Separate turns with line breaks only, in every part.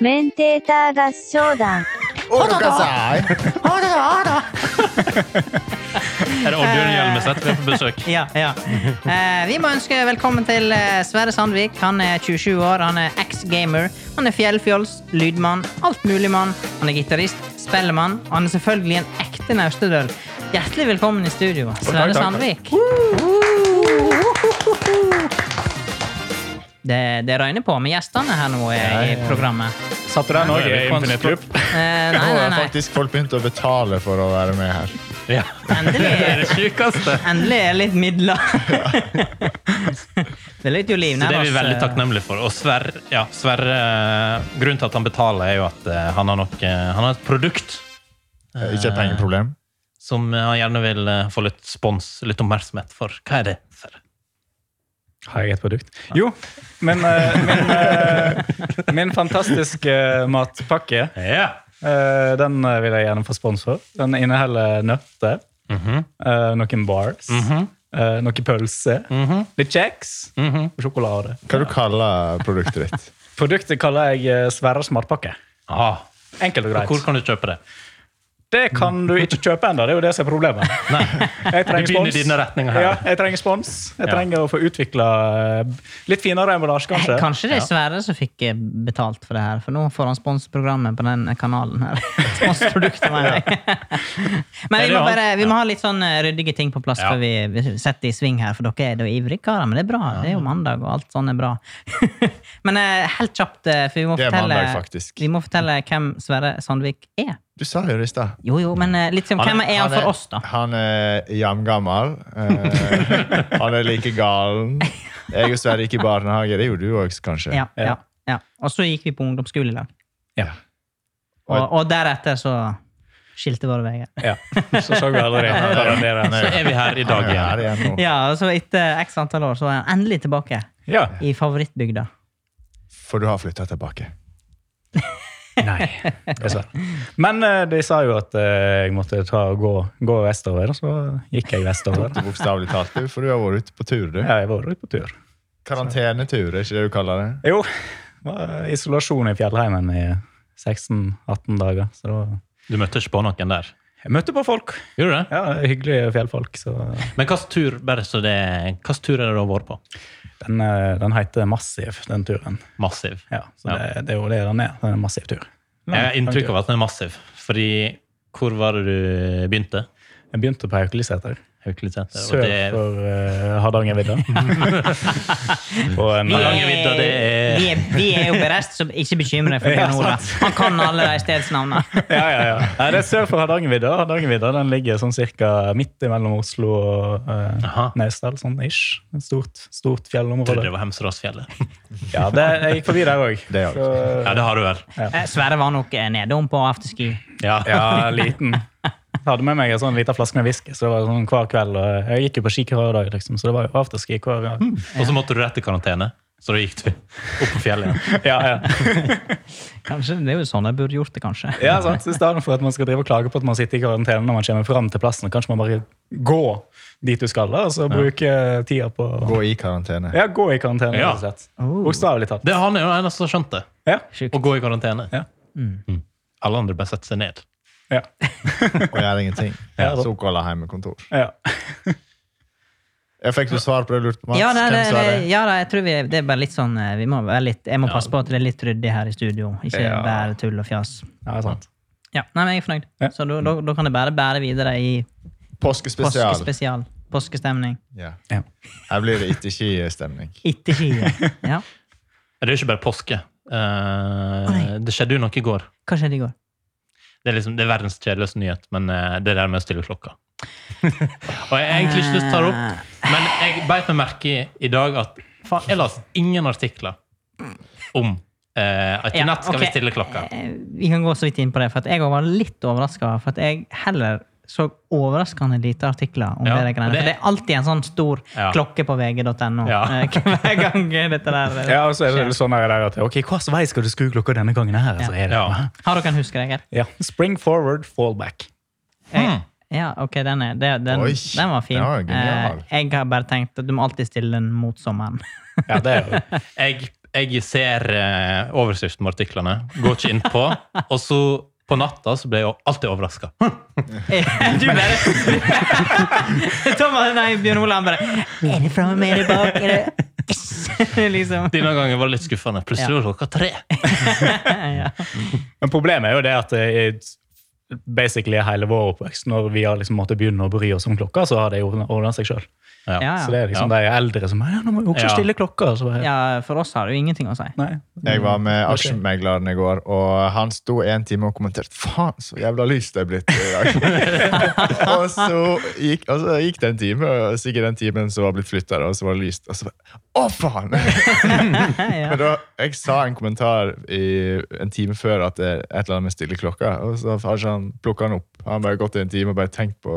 メンテーター合唱団。
Order Gazai.
Er det Oddbjørn Hjelmeset vi har på besøk?
Eh, Ja, ja. Eh, vi må ønske velkommen til eh, Sverre Sandvik. Han er 27 år, han er ex-gamer. Han er fjellfjols, lydmann, altmuligmann. Han er gitarist, spellemann, og han er selvfølgelig en ekte naustedøl. Hjertelig velkommen i studio, Sverre
takk.
Sandvik. Det, det røyner på med gjestene her nå eh, i programmet.
Satt du der nå?
Nå er det
i
Infinite
Infinite Loop?
Eh,
Nå
nei, nei,
har
nei.
faktisk folk begynt å betale for å være med her.
Ja.
Endelig.
Det er det sjukeste.
Endelig er det litt midler. det er litt jo liv
Så
nær
det er vi
oss,
veldig
eh.
takknemlige for. Og Sverre, ja, Sverre eh, Grunnen til at han betaler, er jo at eh, han har, nok, eh, han har et produkt
Eh, Ikke et pengeproblem.
som eh, han gjerne vil eh, få litt spons, litt oppmerksomhet for. Hva er det? Sverre?
Har jeg et produkt? Jo, men eh, min, eh, min fantastiske eh, matpakke,
Ja.
eh, den eh, vil jeg gjerne få sponsor. Den inneholder nøtter,
Mhm.
eh, noen bars, eh, noen pølser,
Mhm.
litt kjeks og sjokolade.
Hva du kaller produktet ditt?
Produktet kaller jeg eh, Sverres matpakke.
Ah.
Enkelt og
Og hvor
greit.
kan du kjøpe det?
Det kan du ikke kjøpe ennå, det er jo det som er problemet.
Nei.
Jeg trenger
Du begynner
spons.
i denne retningen her.
Ja, jeg trenger spons. Jeg
Ja.
trenger å få utvikla litt finere emballasje, kanskje.
Kanskje det er
Ja.
Sverre som fikk eh, betalt for det her, for nå får han sponsorprogrammet på den eh, kanalen her. Sponsprodukter, mener jeg. Men vi
Er det
må,
han?
bare, vi må ha litt sånn eh, ryddige ting på plass
Ja.
før vi vi setter i sving her, for dere er da ivrige karer, men det er bra. Det er jo mandag, og alt sånn er bra. men eh, helt kjapt, eh, for vi må
Det er mandag,
fortelle,
faktisk.
vi må fortelle hvem Sverre Sandvik er.
Du sa jo det i stad.
Jo, jo, men eh, litt som
Han er-
hvem er han for
er-
oss, da?
Han er jamgammal. Eh, han er like galen. Jeg og Sverre gikk i barnehage. Det gjorde du også, kanskje.
Ja,
Ja.
ja, ja. Og så gikk vi på ungdomsskole i lag.
Ja.
Og, og deretter så skilte våre veier.
Ja. Så så vi allerede hvordan det er.
Han
Eh, Så er vi her i dag
han er her
igjen.
igjen nå.
Ja, og så etter x antall år så er han endelig tilbake
Ja.
i favorittbygda.
For du har flytta tilbake.
Nei, dessverre. Men eh, de sa jo at eh, jeg måtte ta og gå, gå vestover, og så gikk jeg vestover.
Du Bokstavelig talt, du, for du har vært ute på tur. du.
Ja, jeg var ute på tur.
Karantenetur, er ikke det du kaller det?
Jo, det var isolasjon i fjellheimen i 16-18 dager. Så det var...
Du møtte ikke på noen der?
Jeg møtte på folk.
Gjorde du det?
Ja, Hyggelige fjellfolk. Så
Men hvilken tur, bare så det, hvilken tur er det du har vært på?
den, eh, den heter Massiv, den turen.
Massiv.
Ja, så
Ja.
Det, det er jo det den er. Det er en massiv tur.
Jeg har inntrykk av at den er massiv. Fordi hvor var det du begynte?
Jeg begynte på Haukeliseter,
Haukeliseter.
sør
Og det
for eh, Hardangervidda. På en,
Vi er,
Hardangervidda, det er-
vi er, vi er jo berest, så ikke bekymre deg for
Ja,
Bjørn Olav.
sant.
Han kan alle de stedsnavnene.
ja, ja, ja. Nei, det er sør for Hardangervidda. Hardangervidda den ligger sånn cirka midt mellom Oslo og uh,
Aha.
Naustdal, sånn ish. Et stort, stort
trodde
fjellområde.
det var Hemsedalsfjellet.
Ja, det, jeg gikk forbi der òg.
Det er jo-
Ja, det har du vel.
Eh, Sverre var nok eh, nedom på afterski.
Ja.
Ja, liten. Jeg hadde med meg en sånn liten flaske med whisky, så det var sånn hver kveld. Og jeg gikk jo på ski hver dag, liksom, så det var jo afterski hver gang.
Og så måtte du rett i karantene. Så da gikk du opp på fjellet igjen.
Ja, ja.
Kanskje Det er jo sånn jeg burde gjort det, kanskje.
Ja, sant? Så I stedet for at man skal drive og klage på at man sitter i karantene når man kommer frem til plassen, kanskje man bare gå dit du skal, da, og så bruke tida på
Gå i karantene.
Ja, gå i karantene,
Ja.
rett og slett.
Oh.
Bokstavelig talt.
Det er han er jo den eneste som har skjønt det.
Ja.
Sjukt.
Å gå i karantene.
Ja.
Mm. Alle andre bare setter seg ned.
Ja.
Og gjør ingenting.
Ja, da.
Såkalla hjemmekontor.
Ja.
Jeg fikk du svar på det du lurte på, Mats?
Ja, det, det,
Hvem sa det?
ja da, jeg tror vi, det er bare litt sånn eh, vi må være litt, Jeg må passe på at det er litt ryddig her i studio. Ikke
Ja.
bare tull og fjas.
ja, sant.
Ja, nei, men jeg er fornøyd.
Ja.
Så da- da da kan det bare bære videre i
Påskespesial.
påskespesial. Påskestemning.
Ja.
Ja.
Her blir det ikke skistemning.
Etter skiet. Ja.
Det er jo ikke bare påske. Eh,
nei.
det skjedde jo noe i går.
Hva skjedde i går?
Det er, liksom, det er verdens kjedeligste nyhet, men eh, det er der med å stille klokka. og jeg har egentlig ikke lyst til å ta det opp, men jeg beit meg merke i i dag at faen, jeg leste ingen artikler om eh, at i
Ja,
natt skal
ok.
vi stille klokka.
Eh, Vi kan gå så vidt inn på det, for at jeg også var litt overraska. For at jeg heller så overraskende lite artikler om
Ja,
det. der greiene.
og det-
For det er alltid en sånn stor
Ja.
klokke på vg.no
Ja.
eh, hver gang dette der eh,
ja, og så er det
skjer.
litt sånn her der at ok, hvilken vei skal du skru klokka denne gangen her? Så er det,
Ja.
Har dere en huskeregel?
ja. Spring forward, fall back.
Hmm. Mm.
Jeg- Eh, Ja, ok, den, er, det- den,
Oi,
den var fin.
den var genial.
Eh, jeg har bare tenkt at du må alltid stille den mot sommeren.
Ja, det er jo
Jeg, jeg ser eh, overskriften på artiklene, går ikke inn på, og så på natta så ble jeg jo alltid overraska.
Du bare Thomas, nei, Bjørn Olav bare Er det framme, er det bak? Er det yes? liksom.
Denne gangen var det litt skuffende. Plutselig var det klokka tre.
ja.
Men problemet er jo det at det er basically hele vår oppvekst, når vi har liksom måttet begynne å bry oss om klokka, så har det ordna seg sjøl.
Ja.
Ja,
Så det er liksom de eldre som ja, nå må vi også
Ja.
stille klokka. Så bare,
ja, for oss har det jo ingenting å si.
Nei.
Jeg var med
Ok.
aksjemegleren i går, og han sto en time og kommenterte Faen, så jævla lyst det er blitt i dag. og, så gikk, og så gikk det en time, og sikkert den timen som var blitt flytta, og så var det lyst. Og så bare Å, faen!
Ja.
Men da, jeg sa en kommentar i, en time før at det er et eller annet med stilleklokka, og så har ikke han plukka den opp. Han har bare gått i en time og bare tenkt på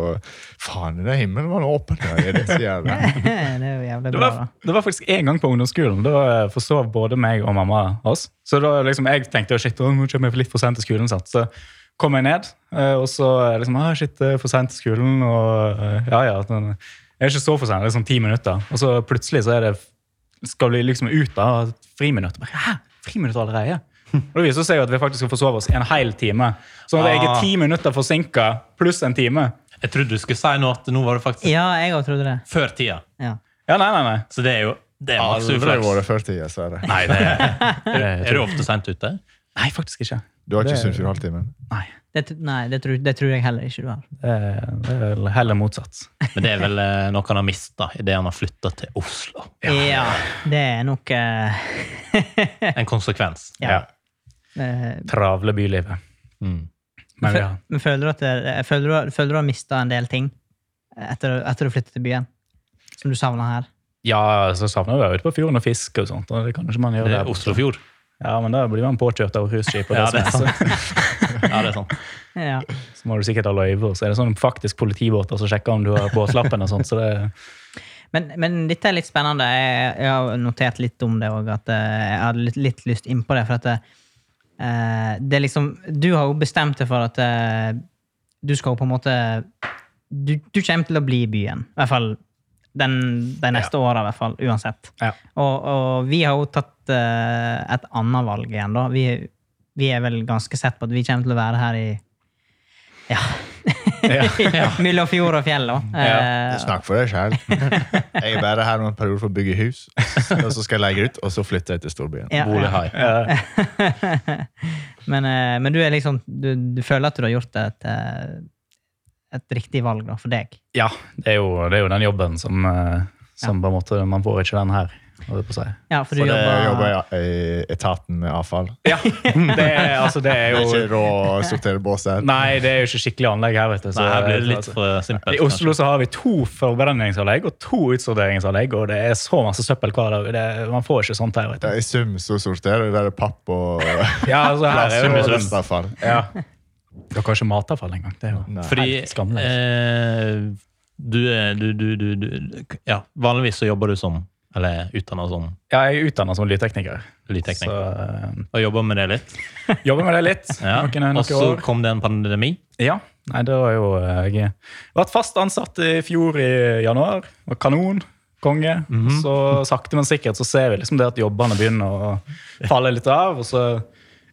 Faen, den himmelen var nå åpen! Er det så jævla?
Det er jo jævlig
Det
bra,
var,
da.
det var faktisk en gang på ungdomsskolen. Da eh, forsov både meg og mamma oss. Så da liksom, jeg tenkte oh, shit, å, nå kommer jeg litt for sent til skolen. Sant? Så kom jeg ned, eh, og så eh, liksom, ah, shit, jeg er for sent til skolen. Og eh, ja, ja, den, jeg er ikke så for sent, det er sånn ti minutter. Og så plutselig så er det, skal vi liksom ut da, og et friminutt. Og bare, Hæ? Friminutt allerede? Og det viser seg jo at vi faktisk skal forsove oss en hel time. Så jeg er
Ah.
ti minutter forsinka pluss en time.
Jeg trodde du skulle si noe at nå var det faktisk
Ja, jeg òg trodde det.
før tida.
Ja.
Ja, nei, nei, nei.
Så det er jo det er masse
Aldri
uflaks.
vært før tida, sa jeg.
Nei, det er, er du ofte seint ute?
Nei, faktisk ikke.
Du har ikke
Det-
Sunnfjordhalvtimen?
Nei.
Det, tr- nei, det tror, det tror jeg heller ikke du har.
Det er Eh, det er vel heller motsatt.
Men det er vel eh, noe han har mista idet han har flytta til Oslo.
Ja, det er nok eh,
En konsekvens.
Ja. eh,
Travle bylivet.
Mm.
Men
fø-
ja.
men føler du at det, føler du, føler du har mista en del ting etter, etter du flyttet til byen? Som du savna her?
ja, så savner vi å være ute på fjorden og fiske og sånt. og Det kan jo ikke man gjøre
Det
der.
er Oslofjord.
Ja, men da blir man påkjørt av cruiseskip. og
Ja, det
det
er
som er,
sant. Ja, det er sant.
Ja.
så- Så må du sikkert ha løyve. og Så er det sånn faktisk politibåter som sjekker om du har båtlappen og sånt. Så det,
Men, men dette er litt spennende. Jeg, jeg har notert litt om det òg, at eh, jeg hadde litt, litt lyst innpå det. For at det, eh, det er liksom Du har jo bestemt deg for at eh, du skal jo på en måte Du, du kommer til å bli i byen. I hvert fall den, de neste åra, i hvert fall. Uansett.
ja.
Og, og vi har jo tatt eh, et annet valg igjen, da. Vi, vi er vel ganske sett på at vi kommer til å være her i ja. Mellom fjord og fjell, da. Eh,
Snakk for deg sjæl. Jeg er bare her om en periode for å bygge hus, og så skal jeg leie ut, og så flytter jeg til storbyen.
ja,
Bolig
ja.
high.
eh,
men, eh, men du er liksom du, du føler at du har gjort et, eh, et riktig valg da, for deg.
ja det, er jo, det er jo den jobben som, eh, som på en måte Man får ikke den her. holdt jeg på å si.
Ja, for du
For det
jobber,
jobber jeg i etaten med avfall.
Ja, det er, altså, det
Det
er
er
jo
ikke rå sorterebåser.
Nei, det er jo ikke skikkelig anlegg her, vet du. så- altså-
Nei, her blir det litt for simpelt.
I Oslo så har vi to forbrenningsanlegg og to utsorteringsanlegg, og det er så masse søppel hver dag. Det, man får ikke sånt her, vet du.
Ja, I sum så sorterer dere papp og
Ja, altså, her er
plast og
jo
restavfall.
Ja. Dere har ikke matavfall engang. Det er jo
Nei.
Fordi
helt skamløst.
eh, du, er- du, du, du, du Ja, vanligvis så jobber du som, eller utdanna som,
Ja, jeg er utdanna som lydtekniker, så
lydtekniker.
eh,
Og jobber med det litt.
jobber med det litt.
Ja.
Noen, noen
Og så
år.
kom det en pandemi.
Ja. Nei, det var jo eh, Jeg vært fast ansatt i fjor i januar. Var kanon. Konge.
Mhm.
Så sakte, men sikkert så ser vi liksom det at jobbene begynner å falle litt av. Og så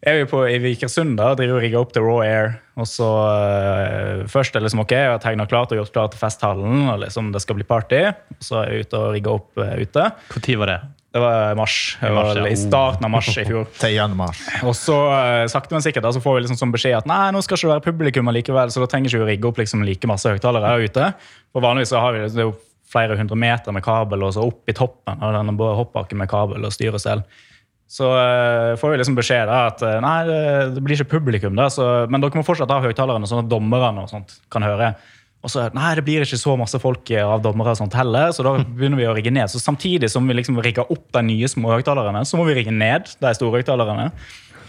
er vi på, i Vikersund da, og driver og rigger opp til Raw Air. Og så eh, først er det liksom ok, jeg har tegna klart og gjort klart til festhallen. og liksom det skal bli party. Og så er jeg ute og rigger opp eh, ute.
Når var det?
Det var i mars. Det
mars,
var
ja. Oh.
I starten av mars i fjor.
Til januar.
Og så eh, sakte, men sikkert da, så får vi liksom sånn beskjed at nei, nå skal ikke det være publikum likevel, så da trenger ikke vi rigge opp liksom like masse høyttalere her ute. For vanligvis så har vi det er jo flere hundre meter med kabel, og så opp i toppen av denne bo- hoppbakken med kabel og styresel. Så eh, får vi liksom beskjed da at eh, nei, det, det blir ikke publikum, da, så, men dere må fortsatt ha høyttalerne, sånn at dommerne og sånt kan høre. Og så nei, det blir ikke så masse folk eh, av dommere og sånt heller, så da begynner vi å rigge ned. Så samtidig som vi liksom rigger opp de nye små høyttalerne, så må vi rigge ned de store høyttalerne.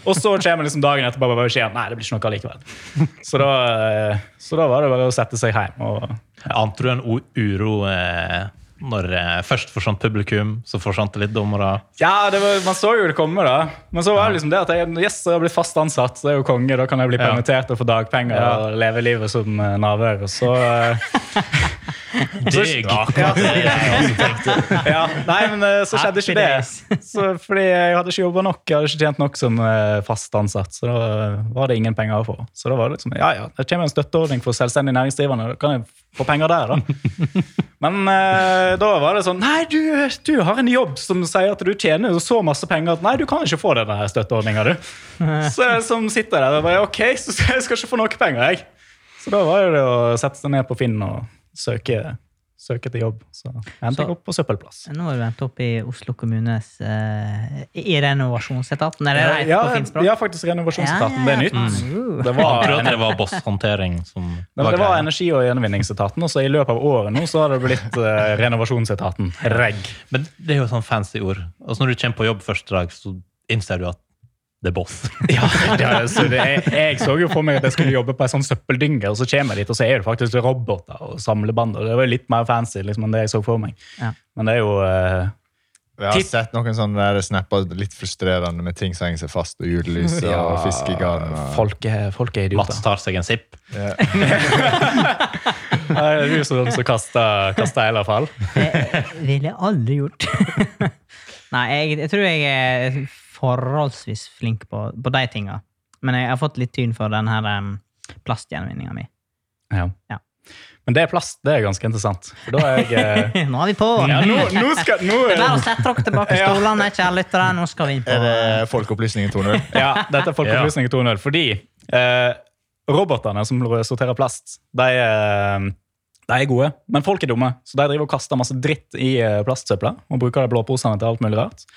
Og så kommer liksom dagen etterpå og bare beskjed nei, det blir ikke noe likevel. Så da, eh, så da var det bare å sette seg hjem. Og,
Ante du en o- uro eh, når eh, først forsvant publikum, så forsvant det litt dommere?
ja, det var, Man så jo det komme, da. Men så var det liksom det at jeg, yes, jeg blir fast ansatt, så det er jo konge. Da kan jeg bli
Ja.
permittert og få dagpenger
Ja.
og leve livet som eh, naver. Og så eh,
Digg!
Ja, nei, men eh, så skjedde ikke
Happy
det. Så, fordi jeg hadde ikke jobba nok, jeg hadde ikke tjent nok som eh, fast ansatt. Så da var det ingen penger å få. Så da var det liksom, ja ja, det kommer en støtteordning for selvstendig næringsdrivende, da kan jeg få penger der, da. Men eh, da var det sånn Nei, du, du har en jobb som sier at du tjener jo så masse penger at nei, du kan ikke få den der støtteordninga, du. Så jeg som sitter der og bare OK, så jeg skal ikke få noe penger, jeg. Så da var jo det å sette seg ned på Finn og søke, søke til jobb. Så endte jeg opp på søppelplass.
Nå har du endt opp i Oslo kommunes eh, i renovasjonsetaten. Er det
Ja,
rett
ja,
på finspråk?
ja, faktisk renovasjonsetaten. Det er nytt.
Mm.
Det var,
Akkurat det var bosshåndtering som
Nei, men det var
greia.
energi- og gjenvinningsetaten, og så i løpet av året nå så har det blitt eh, renovasjonsetaten. REG.
Men det er jo sånn fancy ord. Altså Når du kommer på jobb første dag, så innser du at det er boss.
Ja, så det, jeg, jeg så jo for meg at jeg skulle jobbe på en sånn søppeldynge, og så kommer jeg dit, og så er det faktisk roboter og samleband. og Det var jo litt mer fancy liksom, enn det jeg så for meg.
Ja.
Men det er jo eh,
Jeg har sett noen sånne der snapper litt frustrerende med ting som henger seg fast, og julelys og fiskegarn. eh. Og...
folk, er- folk er
Mats
idioter.
tar seg en sipp.
Ja.
Det er jo sånn som kaster, kaster elavfall.
Det ville jeg aldri gjort. Nei, jeg, jeg tror jeg er forholdsvis flink på, på de tinga. Men jeg har fått litt tyn for den her um, plastgjenvinninga mi.
Ja.
Ja.
Men det er plast. Det er ganske interessant. For da er jeg eh,
Nå er vi på!
ja, nå, nå skal, nå,
Det er bare å sette dere tilbake i
Ja.
stolene, kjære lyttere. Nå skal vi inn på
Er det Folkeopplysningen 2.0?
ja, dette er Folkeopplysning 2.0. Fordi eh, robotene som sorterer plast, de, eh, de er gode. Men folk er dumme, så de driver og kaster masse dritt i eh, plastsøpla. Og bruker de blåposene til alt mulig rart.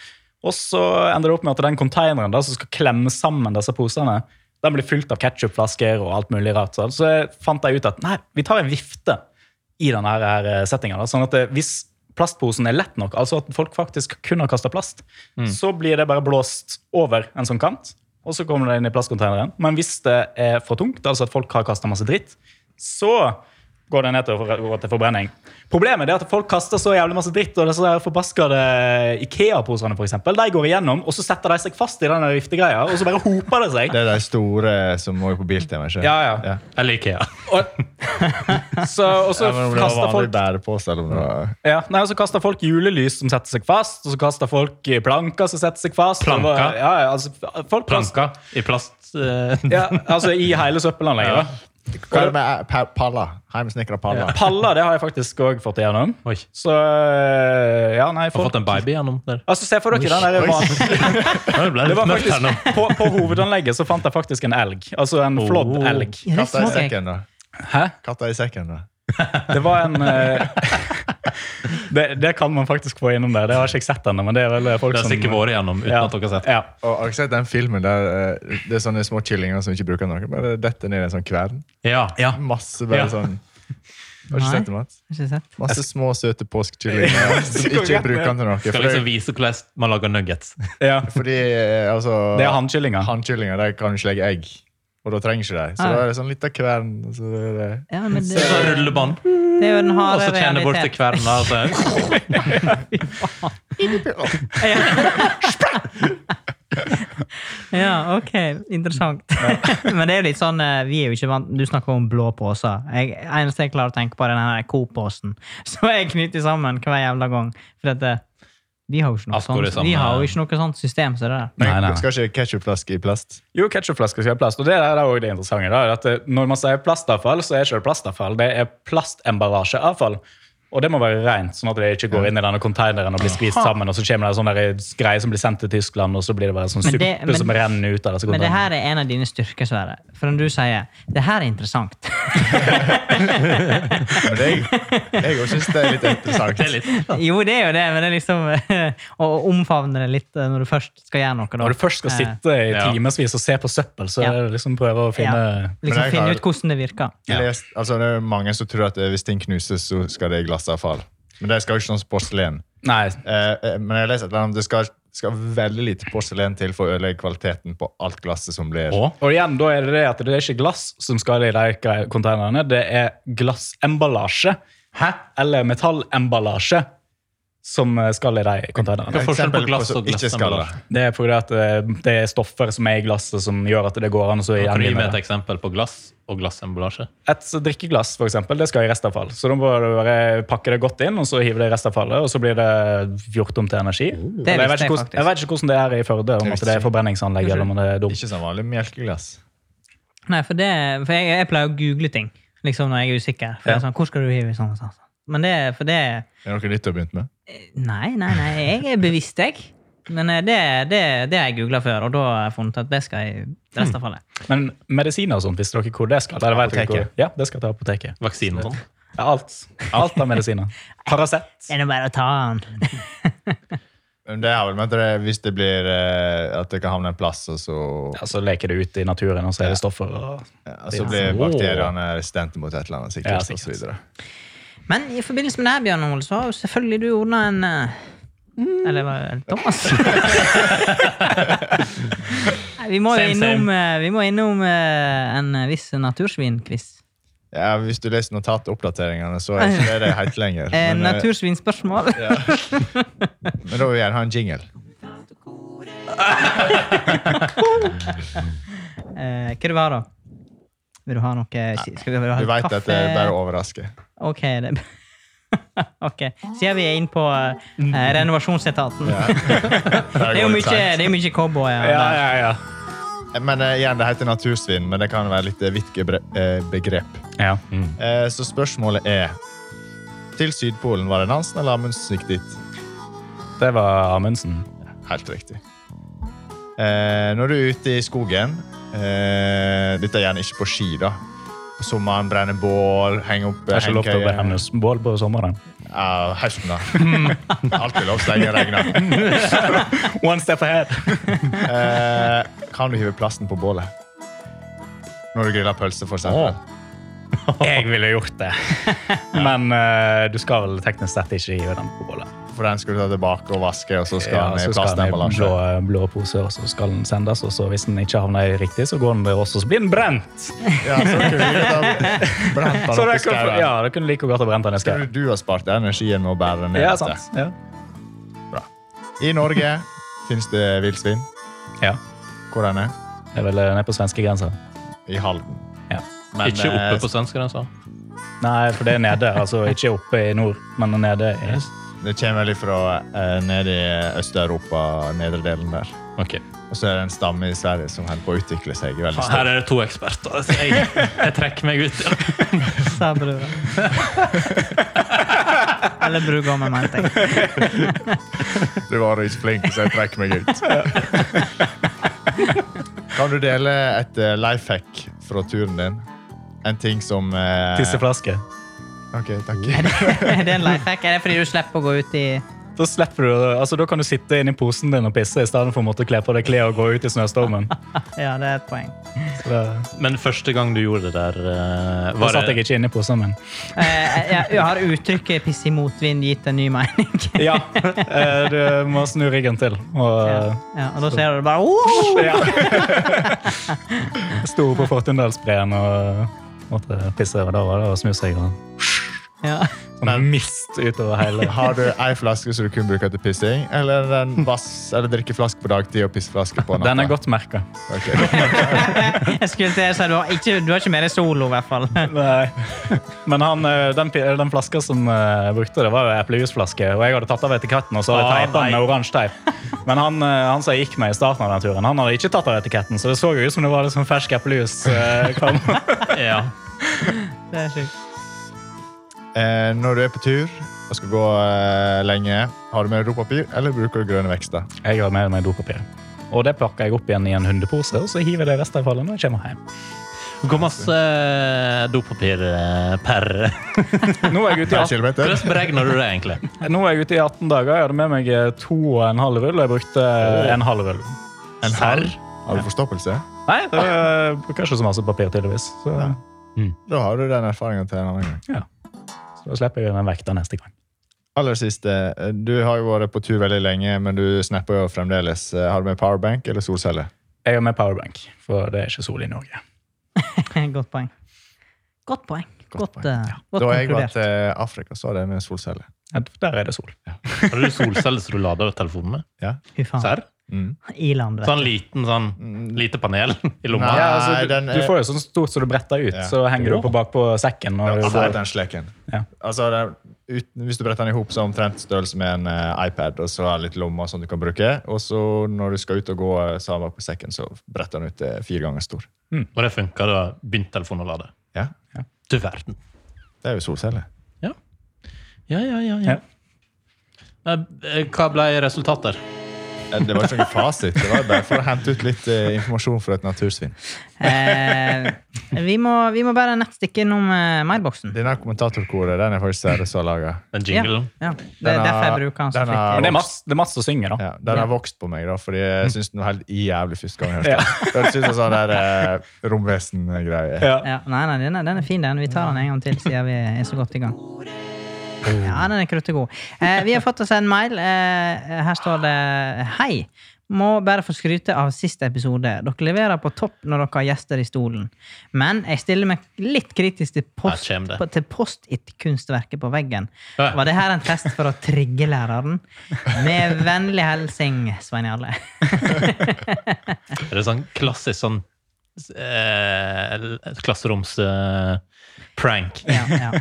Og så ender det opp med at den konteineren da, som skal klemme sammen disse posene, den blir fylt av ketchupflasker og alt mulig rart. Så, så jeg fant jeg ut at nei, vi tar en vifte i denne her eh, settingen. Da, sånn at eh, hvis plastposen er lett nok, altså at folk faktisk kun har kastet plast, så blir det bare blåst over en sånn kant, og så kommer det inn i plastkonteineren. Men hvis det er for tungt, altså at folk har kastet masse dritt, så går det ned til, for, går til forbrenning. Problemet er at folk kaster så jævlig masse dritt, og disse her forbaskede Ikea-posene for eksempel, de går igjennom, og så setter de seg fast i den der viftegreia, og så bare hoper det seg.
Det er de store som må på Biltema, ikke
Ja, ja.
Eller IKEA.
Og, så, og
Ja,
så
men om det var
kaster folk
vanlig bærepose, eller om det var
Ja, nei, og Så kaster folk julelys som setter seg fast, og så kaster folk eh, planker som setter seg fast.
Planker?
Og, eh, Ja, ja, altså, folk kaster-
Planker i plast. eh,
Ja, altså I hele søppelanlegget. da.
Hva er det med eh, pa- paller? Heimsnekra paller.
Paller det har jeg faktisk òg fått igjennom.
Oi.
Så eh, ja, nei,
Har
folk
fått en baby gjennom der.
Altså, Se for dere den der van-
Ja, Det ble
det
litt
var
mørkt her nå.
faktisk, på, på hovedanlegget så fant jeg faktisk en elg. Altså en flådd
Oh.
elg.
Ja,
Katta i
det smaker jeg.
sekken, da.
Hæ?
Katta i sekken, da.
Det var en eh, det, det kan man faktisk få innom der. Det har ikke jeg sett ennå. men det er vel folk
Det har
som...
sikkert vært gjennom uten
Ja,
at dere har sett.
ja.
Og har du sett den filmen der eh, det er sånne små kyllinger som ikke bruker noe? Bare detter ned i en sånn kvern.
Ja, ja.
Masse bare
Ja.
sånn Har du ikke
Nei.
sett det, Mats?
Ikke sett?
Masse små, søte påskekyllinger som ikke bruker den til noe.
Skal
For
liksom
det,
vise hvordan man lager nuggets.
ja.
fordi eh, altså
Det er hannkyllinger.
Hannkyllinger de kan jo ikke legge egg, og da trenger ikke de. Så
Nei.
da er det sånn liten kvern. og Så er det
Ja, men det,
Så rullebånd,
det er jo den
og
harde
så kjenner jeg bort til
realitet.
kverna. og så-
Ja, ok, interessant. Men det er jo litt sånn, eh, vi er jo ikke vant Du snakker om blå poser. Jeg, eneste jeg klarer å tenke på, er den her Coop-posen. Så jeg knytter sammen hver jævla gang. For at eh, vi har jo ikke noe
Alt går i
sånt,
samme-
vi har jo ikke noe sånt system som det der.
Men
Nei, nei, nei.
skal ikke ketchupflaske i plast?
Jo, ketchupflasker skal ha plast. Og det er det, også det interessante. Da, er at eh, når man sier plastavfall, så er ikke det plastavfall. Det er plastemballasjeavfall. Og det må være rent, sånn at det ikke går inn i denne konteineren og blir skvist sammen. Og så kommer det en sånn der greie som blir sendt til Tyskland, og så blir det bare sånn
Men
suppe
det- men-
som renner ut av disse
Men det
konteinerne.
her er en av dine styrker, Sverre. For når du sier 'det her er interessant',
Men det, jeg òg syns det er litt interessant.
Det er litt
Jo, det er jo det, men det er liksom å omfavne det litt eh, når du først skal gjøre noe. Da.
Når du først skal sitte i
Ja.
timevis og se på søppel, så
Eh, Ja.
er det liksom prøve å finne
Liksom
jeg
finne
har-
ut hvordan det virker.
Jeg lest- altså, det er mange som tror at eh, hvis ting knuses, så skal det i glassavfall. Men det skal jo ikke sånn som porselen.
Nei.
Eh, eh, men jeg leser at det skal, skal veldig lite porselen til for å ødelegge kvaliteten på alt glasset som blir
Å?
Og igjen, da er det det at det er ikke glass som skal i de grei- konteinerne, det er glassemballasje. Hæ? Eller metallemballasje. som eh, skal i de
Hva
containerne.
er forskjellen på
Eksempel
glass
som
og glass?
Ikke skal det.
Det er fordi at eh, det er stoffer som er i glasset som gjør at det går an å
Kan
så
du gi
gjenvinne
meg et
det.
eksempel på glass og glassemballasje?
Et drikkeglass for eksempel, det skal i restavfall. Så da må du bare pakke det godt inn og så hive det i restavfallet, og så blir det gjort om til energi.
Det
Eller jeg, vet
visste jeg
ikke hvordan,
faktisk.
jeg vet ikke hvordan det er i Førde, om at
visste
det
jeg.
er forbrenningsanlegg eller om det er dumt.
Ikke som vanlig melkeglass.
Nei, for, det, for jeg, jeg pleier å google ting liksom når jeg er usikker. For jeg er sånn, hvor skal du hive i sånn og sånn? og sånn? Men det, for det
Er det noe nytt du har begynt med?
Nei, nei, nei, jeg er bevisst, jeg. Men eh, det, det, det har jeg googla før, og da har jeg funnet at det skal jeg i
Hmm.
restavfallet.
Men medisiner og sånn, visste dere hvor det skal? Eller vet dere hvor?
Apoteket.
Ja, det skal til apoteket.
Vaksine og sånn?
Ja, alt. Alt av medisiner. Paracet.
Det er nå bare å ta den.
Men Det har vel med at det, hvis det blir eh, at det kan havne en plass, og så,
Ja, så leker det ut i naturen, og så er det stoffer. Og...
ja, så blir
Åh.
bakteriene resistente mot et eller annet. sikkert,
Ja,
og så
sikkert.
videre.
Men i forbindelse med det her, Bjørn Ole, så har jo selvfølgelig du ordna en eh,
Mm.
Eller var det Thomas? Nei, vi må jo
Same, same.
innom, eh, vi må innom eh, en viss natursvinquiz.
Ja, hvis du leser notatoppdateringene, så er ikke det det helt lenger.
Eh,
Men, eh,
natursvinspørsmål.
ja. men da vil vi gjerne ha en jingle.
Eh, hva du har da? Vil du ha noe Skal vi ha
Du vet
kaffe?
at det er bare å overraske.
Ok, det Ok, Siden vi er inne på
Mm.
eh, renovasjonsetaten. Det er jo mye, det er jo mye cowboyer. der.
ja, ja.
Men eh, igjen, det heter natursvinn, men det kan være litt eh, vidt gebre- eh, begrep.
ja. mm.
Eh, Så spørsmålet er Til Sydpolen, var det Nansen eller Amundsen gikk dit?
Det var Amundsen.
Helt riktig. Eh, Når du er ute i skogen eh, Dette er gjerne ikke på ski, da. På sommeren brenner bål, henge opp eh,
Det er ikke lov til å
hengekøye.
brenne bål på sommeren.
Ja, høsten, da. Alltid lov så lenge det regner.
One step ahead.
Eh, Kan du hive plasten på bålet? Når du griller pølse, for eksempel.
Jeg ville gjort det. Men eh, du skal vel teknisk sett ikke hive den på bålet.
For den skal du ta tilbake og vaske, og så skal
Ja,
den i
så skal den i blå, eh,
plastemballasje.
blå pose, og så skal den sendes. Og så hvis den ikke havner i riktig, så går den der også, så blir den brent.
Ja, så kunne du ta- brent den
Så
opp
det
i
kunne,
skauen.
ja, det kunne like godt ha brent den i
Tror
skauen.
du du har spart deg energien med å bære den ned?
Ja,
dette?
sant. Ja.
Bra. I Norge finnes det villsvin.
ja.
Hvor den er?
Det er vel eh, ned på svenskegrensa.
I Halden.
Ja.
Men,
Ikke
eh,
oppe på svenskegrensa?
Nei, for det er nede. Altså ikke oppe i nord, men nede i
Det kommer vel fra eh, nede i Øst-Europa, nedre delen der.
Ok.
Og så er det en stamme i Sverige som holder på å utvikle seg veldig
Her
stort.
er det to eksperter. så Jeg, jeg trekker meg ut.
Sa brura. Eller brudgommen, mente jeg.
Du var ikke flink, så jeg trekker meg ut. Kan du dele et uh, life hack fra turen din? En ting som eh,
tisseflaske.
Ok, takk.
Er det en life hack? Er det fordi du slipper å gå ut i
Da slipper du, altså da kan du sitte inni posen din og pisse i stedet for å måtte kle på deg klær og gå ut i snøstormen.
Ja, det er et poeng.
Så det,
Men første gang du gjorde det der, eh,
da
var
satt jeg
det
ikke inni posen min.
Eh, jeg, jeg har uttrykket 'piss i motvind' gitt en ny mening.
Ja, eh, du må snu ryggen til. Og,
Ja, og da ser du bare «Wow!»
ja. Sto på Fortundalsbreen og måtte pisse over der og da og snu seg. Og,
ja.
sånn mist utover hele.
Har du ei flaske som du kun bruker til pissing, eller en vass, eller drikkeflaske på dagtid og pissflaske på natta?
Den er godt merka.
Ok.
Jeg skulle til å si du har ikke, du har ikke med deg solo, i hvert fall.
Nei. Men han, eh, den, pi- den flaska som eh, jeg brukte, det var jo eplejusflaske. Og jeg hadde tatt av etiketten og så hadde jeg
Å,
teipet den med
nei.
oransje teip. Men han, eh, han som jeg gikk med i starten av den turen, han hadde ikke tatt av etiketten, så det så jo ut som det var liksom fersk eplejus. eh, kom.
ja.
Det er sjukt.
Eh, Når du er på tur og skal gå eh, lenge, har du med dopapir, eller bruker du grønne vekster?
Jeg har med meg dopapir. Og det pakker jeg opp igjen i en hundepose, og så hiver jeg det resten av fallet når jeg kommer hjem.
Hvor masse dopapir eh, per
Nå er jeg ute i
Per
18,
kilometer?
Hvordan beregner du det, egentlig?
nå er jeg ute i 18 dager. Jeg hadde med meg eh, to og en halv rull, og jeg brukte eh, en halv rull.
En herr? Har du forstoppelse?
Nei, det eh, bruker ikke så masse papir, tydeligvis. Så,
Da har du den erfaringen til en annen gang.
så da slipper jeg den vekk da neste gang.
Aller siste. eh, Du har jo vært på tur veldig lenge, men du snapper jo fremdeles. Eh, Har du med powerbank eller solceller?
Jeg har med powerbank, for det er ikke sol i Norge.
Godt poeng. Godt poeng. Godt,
poeng.
eh, godt
Da jeg var
konkludert.
til Afrika, så var det med solceller.
Ja, Der er det sol.
Har du solceller som du lader telefonen med?
Ja.
Fy faen.
Serr?
Mm.
Iland, vet
Sånn
du.
liten, sånn lite panel i lomma?
Nei,
Ja, altså,
den
du,
er-
du får jo sånn stort som du bretter ut,
Ja.
så henger du opp bakpå sekken.
Ja,
Når du
altså,
går.
den sleken.
Ja.
Altså, det er, uten, hvis du bretter den i hop, så er det omtrent størrelse med en eh, iPad og så er det litt lommer som du kan bruke. Og så når du skal ut og gå eh, sammen på sekken, så bretter den ut til fire ganger stor.
Og det funka da begynte telefonen å lade.
Ja,
Du verden.
Det er jo solceller.
Ja. Ja, ja, ja.
Ja.
ja. Eh, eh, Hva ble resultatet?
Eh, Det var ikke noen fasit. Det var bare for å hente ut litt eh, informasjon fra et natursvin.
Eh, vi, må, vi må bare nett stikke innom eh, Meirboksen.
Denne kommentatorkoret den er faktisk Sverre som har laga.
Den
Ja,
jinglen?
ja. Det er
Den
derfor jeg
har-
bruker han så
den har-
Men det
flittig.
er masse, det er masse som synger, da.
Ja, den har vokst på meg, da, fordi jeg syns den var helt jævlig første gang jeg hørte den. Det høres ut som sånn der eh, romvesen-greie.
Ja.
Ja, nei, nei, den er, den er fin, den. Vi tar den en gang til, siden vi er så godt i gang. Ja, den er kruttegod. Eh, vi har fått oss en mail. Eh, her står det Hei. Må bare få skryte av siste episode. Dere leverer på topp når dere har gjester i stolen. Men jeg stiller meg litt kritisk til post-
Her kommer det.
på- til Post-It-kunstverket på veggen.
Ja.
Var det her en test for å trigge læreren? Med vennlig hilsen Svein Jarle.
Er det sånn klassisk sånn eh, klasseroms-prank?
Ja, ja.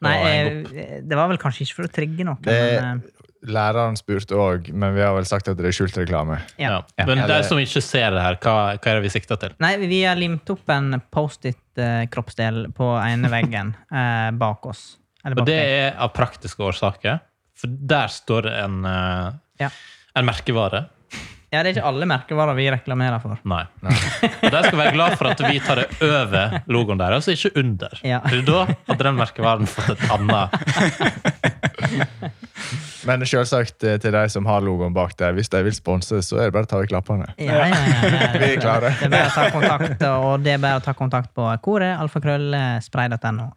Nei,
Og en
eh, det var vel kanskje ikke for å trigge noe.
Det-
men, eh,
Læreren spurte òg, men vi har vel sagt at det er skjult reklame.
ja.
Ja. Men
Ja,
de
det-
som ikke ser det her, hva, hva er det vi sikter til?
Nei, vi har limt opp en Post-It-kroppsdel på ene veggen eh, bak oss. Eller
Og
bak
det
deg.
er av praktiske årsaker. For der står det en, eh,
Ja.
en merkevare.
ja, det er ikke alle merkevarer vi reklamerer for.
Nei. Og de skal være glad for at vi tar det over logoen deres, og ikke under.
Ja.
For da hadde den merkevaren fått et annet
Men selvsagt eh, til de som har logoen bak der, hvis de vil sponse, så er det bare å ta vekk lappene.
Ja, ja, ja, ja, ja.
Vi er klare.
Det er bare å ta kontakt, og det er bare å ta kontakt på koret, alfakrøllspray.no.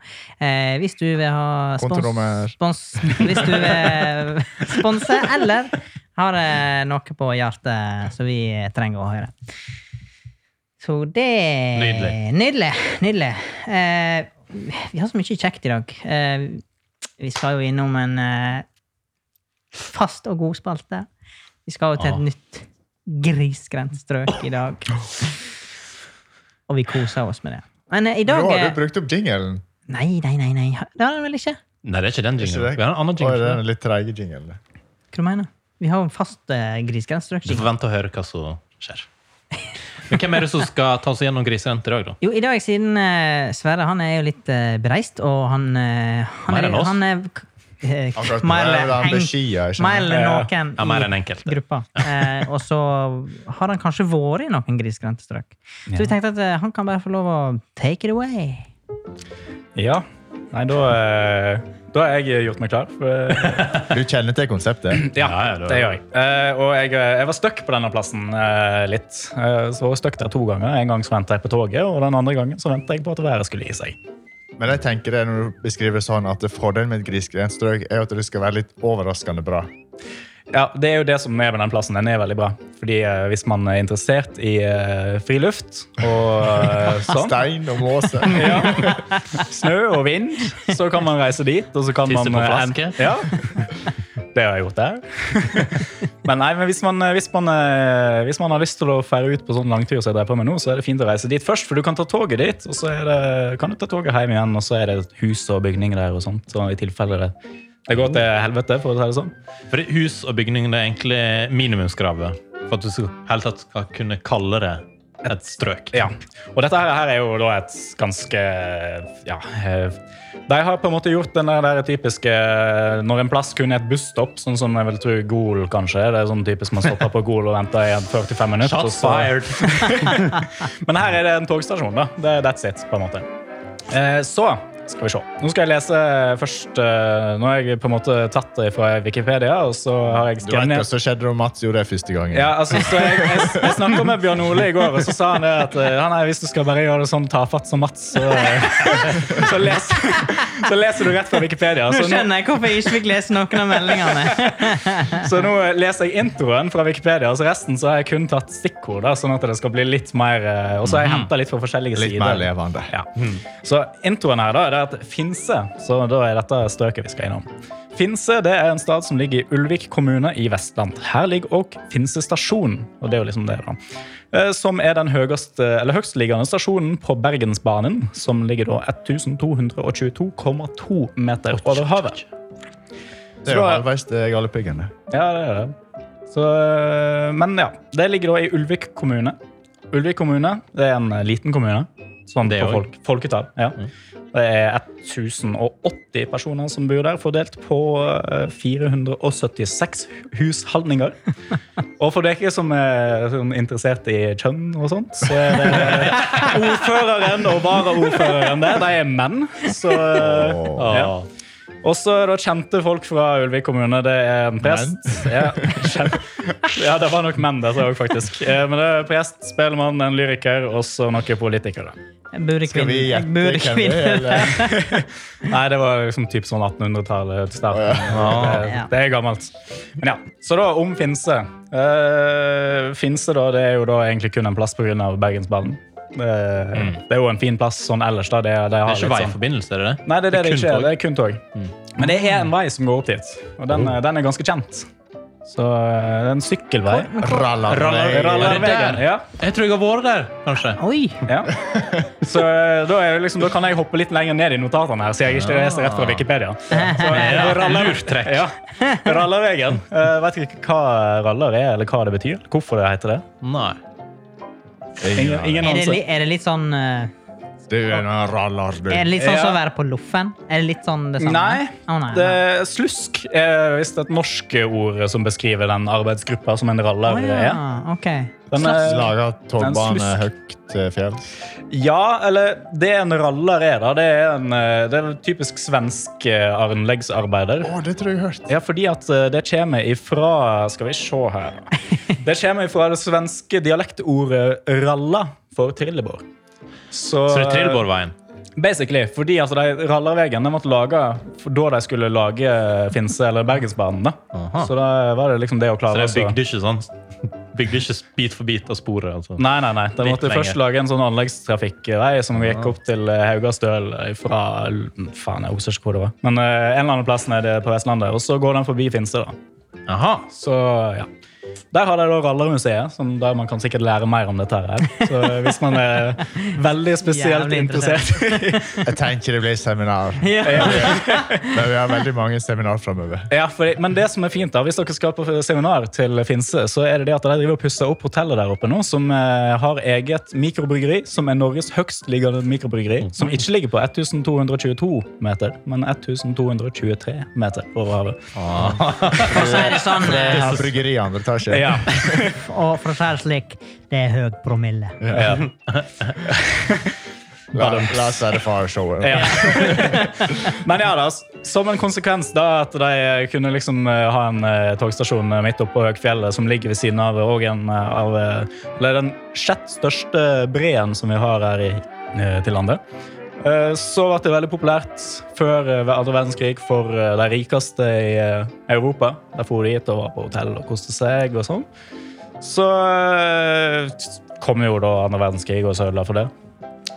Eh, hvis du vil ha
Kontonummer.
spons, spons Hvis du vil sponse, eller har eh, noe på hjertet som vi trenger å høre. Så det
Nydelig.
Nydelig. nydelig. Eh, vi har så mye kjekt i dag. Eh, vi skal jo innom en eh, fast og god spalte. Vi skal jo til et
Ah.
nytt grisgrendt strøk i dag. Og vi koser oss med det. Men eh, i
Nå
dag
har
er-
du brukt opp jingelen.
Nei, nei, nei. nei. Det har den vel ikke?
Nei, det er ikke den
Ikke
jinglen.
det?
Vi har en annen
Oi, den
jingle.
er litt treige jingelen.
Hva du mener Vi har jo en fast eh, grisgrendt strøk.
Du får vente og høre hva som skjer. Men hvem er det som skal ta oss gjennom griserendt i dag, da?
Jo, i dag, siden eh, Sverre han er jo litt eh, bereist, og han, eh, han
Mer enn
er,
oss.
han er eh,
Akkurat nå
mer
er
enn
han
en-
beskia, jeg skjønner.
mer enn
Ja, ja.
noen
Ja, mer enn
i
enkelte.
gruppa. Eh, og så har han kanskje vært i noen grisgrendte strøk. Så vi tenkte at eh, han kan bare få lov å take it away.
Ja. Nei, da, eh, da har jeg gjort meg klar. For, eh,
Du kjenner til konseptet?
ja,
Ja, ja, det var-
det gjør jeg. Eh, og jeg, eh, jeg var stuck på denne plassen eh, litt. Eh, så var jeg stuck der to ganger. En gang så venta jeg på toget, og den andre gangen så venta jeg på at været skulle gi seg.
Men jeg tenker det når du beskriver sånn at fordelen med et grisgrendt strøk er at det skal være litt overraskende bra.
Ja, Det er jo det som er med den plassen. Den er veldig bra. Fordi eh, hvis man er interessert i eh, friluft og eh, sånn
Stein og måse.
ja. Snø og vind, så kan man reise dit. Og så kan
Tisse
man, eh,
på flaske.
Ja. Det har jeg gjort der. Men nei, men hvis man, hvis, man, eh, hvis man har lyst til å fære ut på sånn langtur, som jeg drev på med nå, så er det fint å reise dit først, for du kan ta toget dit, og så er det, kan du ta toget hjem igjen, og så er det hus og bygninger der og sånt, så i tilfelle det, det går til helvete, for å si det sånn.
For hus og bygning det er egentlig minimumskravet for at du skal, helt tatt skal kunne kalle det et strøk.
Ja, og dette her, her er jo da et ganske Ja. eh, De har på en måte gjort den der, der typiske eh, Når en plass kun er et busstopp, sånn som jeg vil tro Gol kanskje. Det er sånn typisk man stopper på Gol og venter i 45 minutter. og
Shots
så-
fired!
Men her er det en togstasjon, da. Det, that's it, på en måte. Eh, så skal vi se. Nå skal jeg lese først eh, Nå har jeg på en måte tatt det fra Wikipedia, og så har jeg
Du vet
skannet
hva som skjedde da Mats gjorde det første gangen.
ja, altså, så jeg, jeg, jeg snakket med Bjørn Ole i går, og så sa han det at eh, ja, nei, hvis du skal bare gjøre det sånn tafatt som Mats, så, eh, så, leser, så leser du rett fra Wikipedia.
Nå
Så nå,
skjønner jeg hvorfor jeg ikke fikk lese noen av meldingene.
så nå leser jeg introen fra Wikipedia, og så resten så har jeg kun tatt stikkord, da, sånn at det skal bli Mhm. litt mer eh, Og så har jeg hentet litt fra forskjellige
Litt
sider.
mer levende.
Ja. Så introen her da, det er at Finse så da er dette strøket vi skal innom. Finse det er en stad som ligger i Ulvik kommune i Vestland. Her ligger også Finse stasjon, og det er jo liksom det, da. Eh, Som er den høyest, eh, eller høgstliggende stasjonen på Bergensbanen, som ligger da 1222,2 meter over havet.
Det er jo halvveis eh, til Galdhøpiggen. det.
Ja, det er det. Så, øh, men ja, det ligger da i Ulvik kommune. Ulvik kommune det er en eh, liten kommune. Sånn
Det
på
også. Mm.
folk, folketall. Ja. Det er 1080 personer som bor der, fordelt på eh, 476 husholdninger. Og for dere som er sånn interessert i kjønn og sånt, så er det ordføreren og varaordføreren der. De er menn. Så eh,
Åh.
ja. Også da kjente folk fra Ulvik kommune. Det er en prest. Ja, kjen- ja, det var nok menn der òg, faktisk. Eh, Men det er prest, spellemann, en lyriker og så noen politikere.
Burde
Skal vi
kvinner.
gjette hvem
Burde
det er?
kvinner.
eller?
Nei, det var liksom typ sånn 1800-tallet til starten.
Ja.
Det, det er gammelt. Men ja, Så da om Finse. Eh, Finse da, det er jo da egentlig kun en plass pga. Bergensbanen. Uh, Det er jo en fin plass sånn ellers. da. Det, det,
Mm. Det
har
er ikke
litt sånn-
veiforbindelse, er det det?
Nei, det er det det
kun
ikke er.
tog. Mm.
Det er kun tog. Men det er en vei som går opp dit, og
Oh.
den, er- den er ganske kjent. Så eh, det er en sykkelvei.
Rallarvei.
Rallar-
Rallarvegen, ja.
Jeg tror jeg har vært der, kanskje.
Oi!
ja. Så eh, da, er det liksom, da kan jeg hoppe litt lenger ned i notatene, her, så jeg ikke leser rett fra Wikipedia. Så, eh,
Ja,
rallar-
lurt trekk.
Ja. Rallarvegen. Eh, vet ikke hva raller er, eller hva det betyr. Hvorfor det heter det.
Nei.
Ingen, ingen
Er det,
anelse.
li- er det litt sånn eh,
Det er jo en rallar, du.
Er det litt sånn
Ja.
som å være på loffen? Er det litt sånn det samme?
Nei.
Å, nei, nei.
Det, slusk er visst et norsk ord som beskriver den arbeidsgruppa som en raller
Å,
er.
ja. Ok.
Den, eh,
Laga
Det
togbane
er en
høyt eh, til fjells.
Ja, eller det en raller er, da. Det er en, eh, det er en typisk svensk eh, anleggsarbeider.
Å, det tror jeg jeg har hørt.
Ja, fordi at eh, det kommer ifra Skal vi se her Det kommer ifra det svenske dialektordet 'ralla' for trillebår. eh,
Så det er Trillborgveien.
Basically, fordi altså, de Rallarvegen de måtte lage for da de skulle lage Finse eller Bergensbanen. da.
Aha.
Så da var det liksom det å
Så det
klare å-
bygde ikke sånn Bygde ikke bit for bit av sporet. Altså.
Nei, nei, nei. De
Litt
måtte
lenger.
først lage en sånn anleggstrafikkvei som gikk opp til eh, Haugastøl fra Faen, jeg husker ikke hvor det var. Men eh, en eller annen plass nede på Vestlandet. Og så går den forbi Finse, da.
Aha.
Så ja. Der har de da Rallarmuseet, som der man kan sikkert lære mer om dette her. Så hvis man er veldig spesielt
Jævlig interessert.
interessert
Jeg tenker det blir seminar. Men vi har veldig mange seminar framover.
Ja, fordi, men det som er fint da, Hvis dere skal på seminar til Finse, så er det det at de driver og pusser opp hotellet der oppe nå, som eh, har eget mikrobryggeri, som er Norges høyestliggende mikrobryggeri. Som ikke ligger på 1222 meter, men 1223 meter over havet.
For å si det sånn,
Jeg
eh,
har bryggeri i andre etasje.
Ja,
og for å si det slik, det er høy promille.
ja.
La, la oss være fareshowet.
Ja. Men ja, da, som en konsekvens da at de kunne liksom eh, ha en eh, togstasjon eh, midt oppe på Høgfjellet som ligger ved siden av eh, og en eh, av eh, eller den sjett største breen som vi har her i, eh, til landet. Eh, Så ble det veldig populært før eh, ved andre verdenskrig for eh, de rikeste i eh, Europa. Der for de dit og var på hotell og koste seg og sånn. Så eh, kom jo da andre verdenskrig og så ødela for det.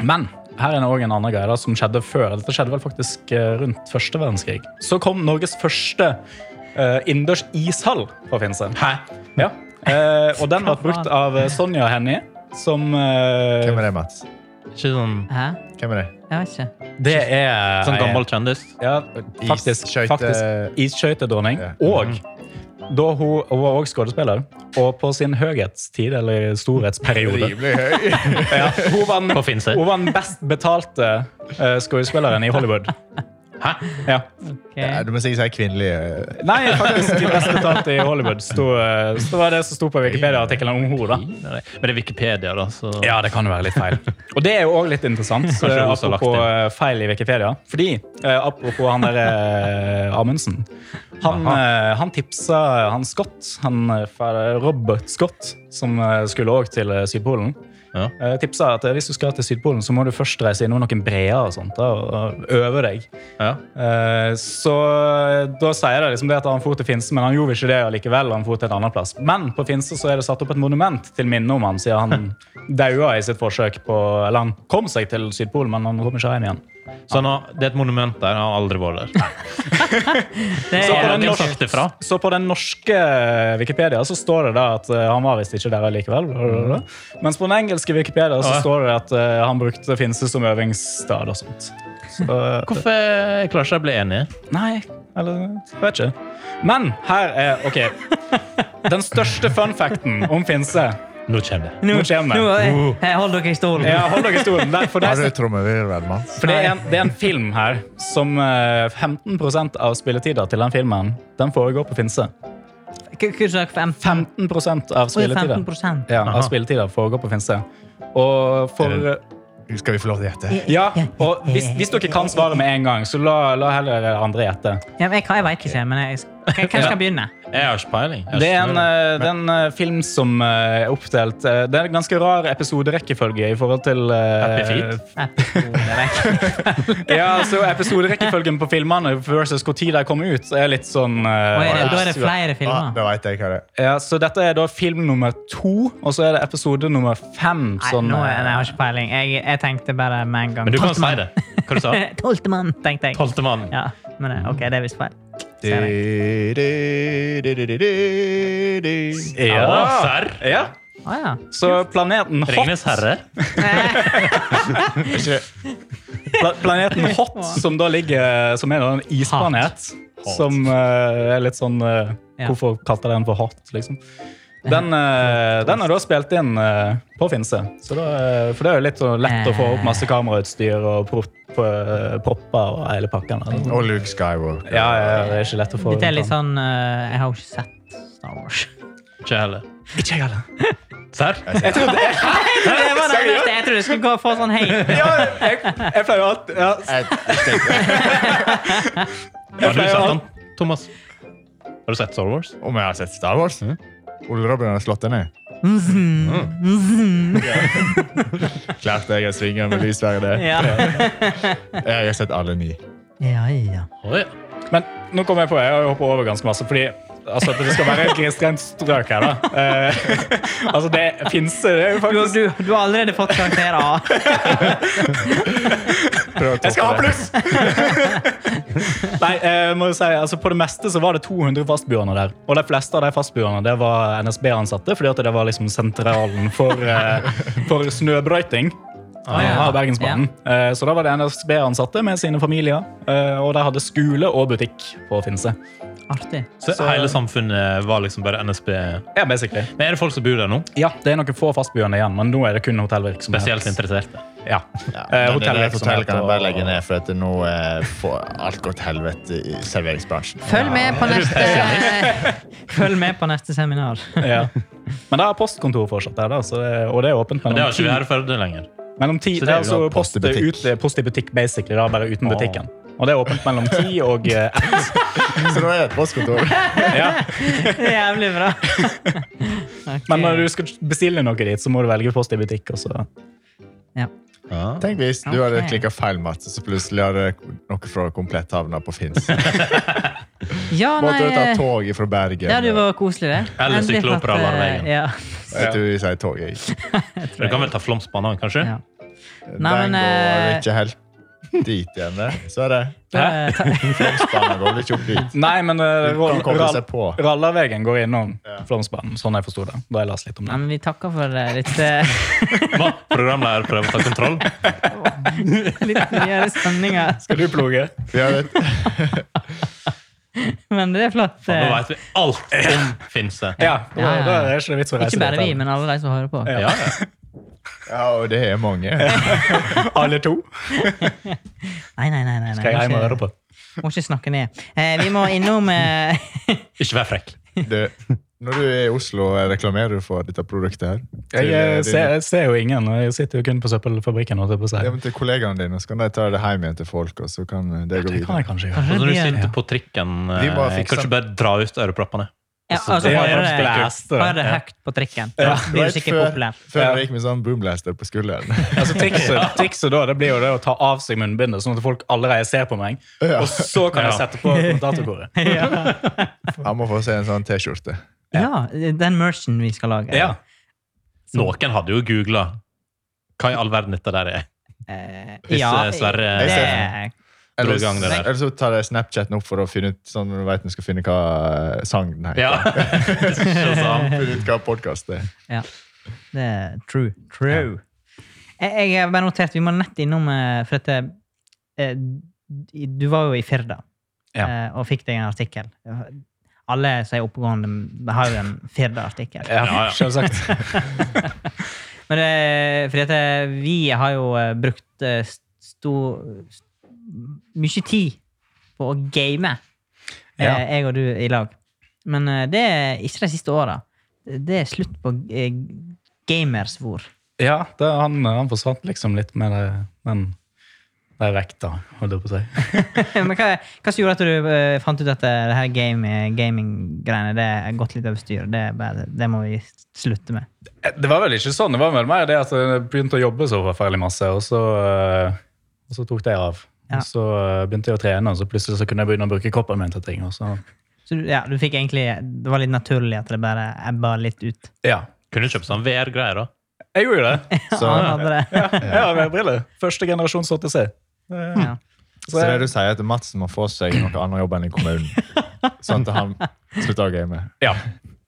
Men her er det også en annen greie da, som skjedde før. Dette skjedde vel faktisk eh, rundt første verdenskrig. Så kom Norges første eh, innendørs ishall på Finse.
Hæ?
Ja. Eh, og den ble brukt av eh, Sonja Hennie. Som eh,
Hvem er det, Mats?
Ikke sånn,
Hæ?
Hvem er det?
Jeg vet ikke.
Det er eh,
sånn gammel kjendis?
Ja, faktisk.
Isskøyte-
faktisk Isskøytedronning.
Ja.
Og da hun, hun var også skuespiller. Og på sin høyhetstid, eller storhetsperiode
Rimelig høy.
ja, hun, var
På
den,
Finse?
hun var den best betalte eh, skuespilleren i Hollywood.
Hæ?
Ja.
Ok.
Du må sikkert si kvinnelig. eh,
Nei, faktisk de best betalte i Hollywood. Sto, eh, så var det som sto på Wikipedia-artikkelen om henne. da.
Men det er Wikipedia, da. Så.
Ja, det kan jo være litt feil. Og det er jo òg litt interessant.
Kanskje
eh,
hun også har lagt
apropos
inn.
eh, feil i Wikipedia. Fordi, eh, apropos han der eh, Amundsen. Han, eh, han tipsa han Scott, han eh, fra Robert Scott, som eh, skulle òg til eh, Sydpolen.
Ja.
Eh, tipsa at eh, hvis du skal til Sydpolen, så må du først reise innom noen breer og sånt, da, og, og øve deg.
Ja.
Eh, Så da sier det liksom det at han for til Finse, men han gjorde ikke det likevel. Han for til en annen plass. Men på Finse så er det satt opp et monument til minne om han, siden han daua i sitt forsøk på Eller han kom seg til Sydpolen, men han kom ikke hjem igjen.
Så han har, det er et monument der. Han har aldri vært der.
Det
Så
Har
på
er,
den
noen
norske-
sagt det fra?
Så på den norske eh, Wikipedia så står det da at eh, han var visst ikke der likevel. bla, bla, bla. Mens på den engelske Wikipedia så
Ja.
står det at eh, han brukte Finse som øvingssted og sånt. Så,
Hvorfor klarer ikke jeg å bli enig?
nei, eller jeg vet ikke. Men her er OK. Den største fun facten om Finse.
Nå kommer det.
Nå kommer
nå,
den.
eh, eh, hold dere i stolen.
Ja, hold dere i stolen. Der, for, der,
Har du trommevirvel, Mats?
for det, er en, det er en film her som eh, 15 av spilletida til den filmen den foregår på Finse.
K- Hva sa dere? 15
15
Å, det
av
er
spilletida.
15%.
Ja,
Aha.
av spilletida foregår på Finse. Og
Er
for
det- Skal vi få lov til å gjette?
Ja, og hvis, hvis dere kan svaret med en gang, så la, la heller andre gjette.
Ja, men jeg, jeg vet ikke, men jeg, jeg, jeg skal begynne.
Jeg har ikke peiling. Jeg har
Det er
ikke
en,
snøring.
eh, det er en eh, film som eh, er oppdelt eh, Det er en ganske rar episoderekkefølge i forhold til eh,
Happy Feet?
Oh, Episode,
Ja, så Episoderekkefølgen på filmene versus når de kom ut, er litt sånn eh,
Oi, da er det flere
Ah,
filmer.
da veit jeg hva det er.
ja, Så dette er da film nummer to, og så er det episode nummer fem.
Nei,
Sånn,
nå, er-
eh,
nei, jeg har ikke peiling. Jeg, jeg tenkte bare med en gang.
Men du kan si
Tolvtemann.
det. Hva du sa du?
Tolvtemann, tenkte jeg.
Tolvtemann.
Ja, men eh, ok, det er visst feil. Ser
Di,
jeg.
di, di, di, di, di, di.
ja.
Å, serr.
ja.
Å ja.
Så planeten Hot
Ringenes herre.
Pla planeten Hot, som da ligger Som er da en isplanet.
Hot.
Som eh, er litt sånn eh,
Ja.
Hvorfor kalte de den for Hot, liksom? Den, eh, den er da spilt inn eh, på Finse. Så da, eh, for det er jo litt sånn lett å få opp
Eh.
masse kamerautstyr og prop, eh, propper og hele pakka.
Og Luke Skywalker.
Ja, ja, det er ikke lett å få
Mm. Dette er litt sånn eh, Jeg har jo ikke sett Star Wars.
Ikke jeg heller.
Ikke jeg heller.
Serr?
Det var det neste. Jeg trodde jeg skulle gå og få sånn hei.
Ja, jeg, jeg pleier alltid ja,
Jeg, jeg tenkte,
Har du
pleier
sett
å-
den, Thomas? Har du sett Star Wars?
om jeg har sett Star Wars? hm? Ole Robin har slått det ned.
Mhm.
Mhm. Klart jeg har svinga med lysverdet.
Ja.
Jeg har sett alle ni.
ja, ja.
Oi.
Men nå kommer jeg på, jeg har jo hoppet over ganske masse, fordi altså, det skal være et grisgrendt strøk her, da. Eh, altså, det finnes det er jo
Du,
faktisk...
du, du har allerede fått karakter A.
Prøv å
Jeg skal ha
toppe det.
pluss! Nei, jeg må jo si, altså på det meste så var det 200 fastboende der. Og de fleste av de fastboende det var NSB-ansatte, fordi at det var liksom sentralen for, eh, for snøbrøyting.
Ah, ja.
av Bergensbanen. Eh, Så da var det NSB-ansatte med sine familier. eh, Og de hadde skole og butikk på Finse.
Artig.
Så hele samfunnet var liksom bare NSB.
Ja, basically.
Men er det folk som bor der nå?
Ja, det er noen få fastboende igjen, men nå er det kun hotellvirksomhet.
Spesielt interesserte.
Ja.
Men
Eh,
det der hotellet
hotellvirksomhet
kan jeg
og-
bare legge ned, for at nå eh, får alt gått til helvete i serveringsbransjen.
Følg med på neste Følg med på neste seminar.
Ja. Men det er postkontor fortsatt der, da, så det, og det er åpent
Det har
mellom
ikke
ti,
vi her i Førde lenger.
mellom ti
Så det
det
er
er
jo
altså
da
post,
post i butikk.
ut, post i butikk, basically, da, bare uten butikken. Og det er åpent mellom ti og eh, ett.
Så nå er jeg et postkontor.
Ja.
Det er Jævlig bra. Ok.
Men når du skal bestille noe dit, så må du velge post i butikk. Og så.
ja.
Tenk hvis du hadde
Ok.
klikka feil, Mats, og så plutselig hadde noe fra komplett havna på Finns.
ja,
Måtte du ta
nei eh,
tog fra Bergen?
Ja, det var koselig, det.
Eller
Endelig
sykle opp
fått,
Rallarveien.
eh, Ja.
Jeg tror vi sier tog. Jeg.
Du kan vel ta Flåmsbanen, kanskje?
ja.
Den
Nei, men,
går
eh,
ikke helt dit igjen, det. Så er det.
Eh, ta-
Flåmsbanen går vel ikke opp dit.
Nei, men eh,
Du kan
Roll-
koble
Rall-
seg på.
Rallarvegen går innom Flåmsbanen, sånn jeg forsto det. Da har jeg lest litt om
Nei,
det.
men vi takker for eh, litt, eh,
Hva? Programleder prøver å ta kontroll?
litt nyere sendinger.
Skal du ploge?
Vi har et,
Men det er flott.
Nå
eh.
vet vi alt om Finse.
Ja, da,
Ja, ja.
da er det ikke vits å reise
Ikke bare
dit,
vi,
eller?
men alle de som hører på.
Ja, ja.
ja, og det er mange.
Alle to
Nei, nei, nei. nei, nei.
skal jeg hjem og høre på.
Må ikke snakke ned. Eh, vi må innom eh,
Ikke vær frekk.
Det, når du er i Oslo, reklamerer du for dette produktet her?
Jeg,
Til, eh,
eh,
din-
ser, jeg ser jo ingen, og jeg sitter jo kun på søppelfabrikken. holdt jeg på å si.
Ja, men til kollegaene dine, så kan de ta det hjem igjen til folk, og så kan eh, det gå
Det kan
videre.
jeg kanskje
Kanskje
Og
gjøre.
så når du
det blir-
sitter på trikken,
Vi
eh,
må fikse
kan du
den.
ikke bare dra ut øreproppene?
ja, altså,
Det er
Hører
faktisk det beste.
hører det
Ja.
høyt på trikken. Da blir du
Right
sikkert populær.
Før
Ja.
jeg gikk med sånn boomblaster på skulderen.
Altså, trikset, trikset da, det blir jo det å ta av seg munnbindet, sånn at folk allerede ser på meg. Og så kan jeg
Ja.
sette på kommentatorkoret.
Han må få seg en sånn T-skjorte.
Ja, den merchen vi skal lage.
Ja.
Noen hadde jo googla hva i all verden dette der er.
Eh,
Hvis
ja,
eh, Sverre
Jeg ser
det,
Eller,
Dro i gang det der.
eller så tar jeg Snapchaten opp for å finne ut sånn at vet vi skal finne hva eh, sang den heter.
Ja. Shazam.
Finne ut hva podcast det er.
ja, det er true. True. Jeg, jeg har bare notert, vi må nett innom eh, For dette eh, Du var jo i Firda
Ja.
eh, og fikk deg en artikkel. Alle som er oppegående, har jo en Firda-artikkel.
Ja,
Ja, ja.
selvsagt.
Men det, fordi at eh, vi har jo eh, brukt eh, stor s- mye tid på å game, eh,
Ja.
jeg og du i lag. Men eh, det er ikke de siste åra. Det er slutt på eh, gamersvor.
Ja, det, han, han forsvant liksom litt med det, den, den vekta, holdt jeg på å si.
Men hva, hva som gjorde at du eh, fant ut at eh, det her game, gaming-greiene det er gått litt over styr? Det, er bare- det må vi slutte med.
Det var vel ikke sånn. Det var vel mer det at jeg begynte å jobbe så forferdelig masse, og så, eh, og så tok det av.
Ja.
Og så eh, begynte jeg å trene, og så plutselig så kunne jeg begynne å bruke kroppen min til ting. Og så,
Så du, ja, du fikk egentlig, det var litt naturlig at det bare ebba litt ut.
ja.
Kunne kjøpt sånn VR-greier, da.
Jeg gjorde jo det.
Så,
Han hadde det.
Jeg har VR-briller. Første generasjons HTC.
Ja.
så det du sier, er at Madsen må få seg noe annet jobb enn i kommunen. Sånn at han slutter å game.
Ja.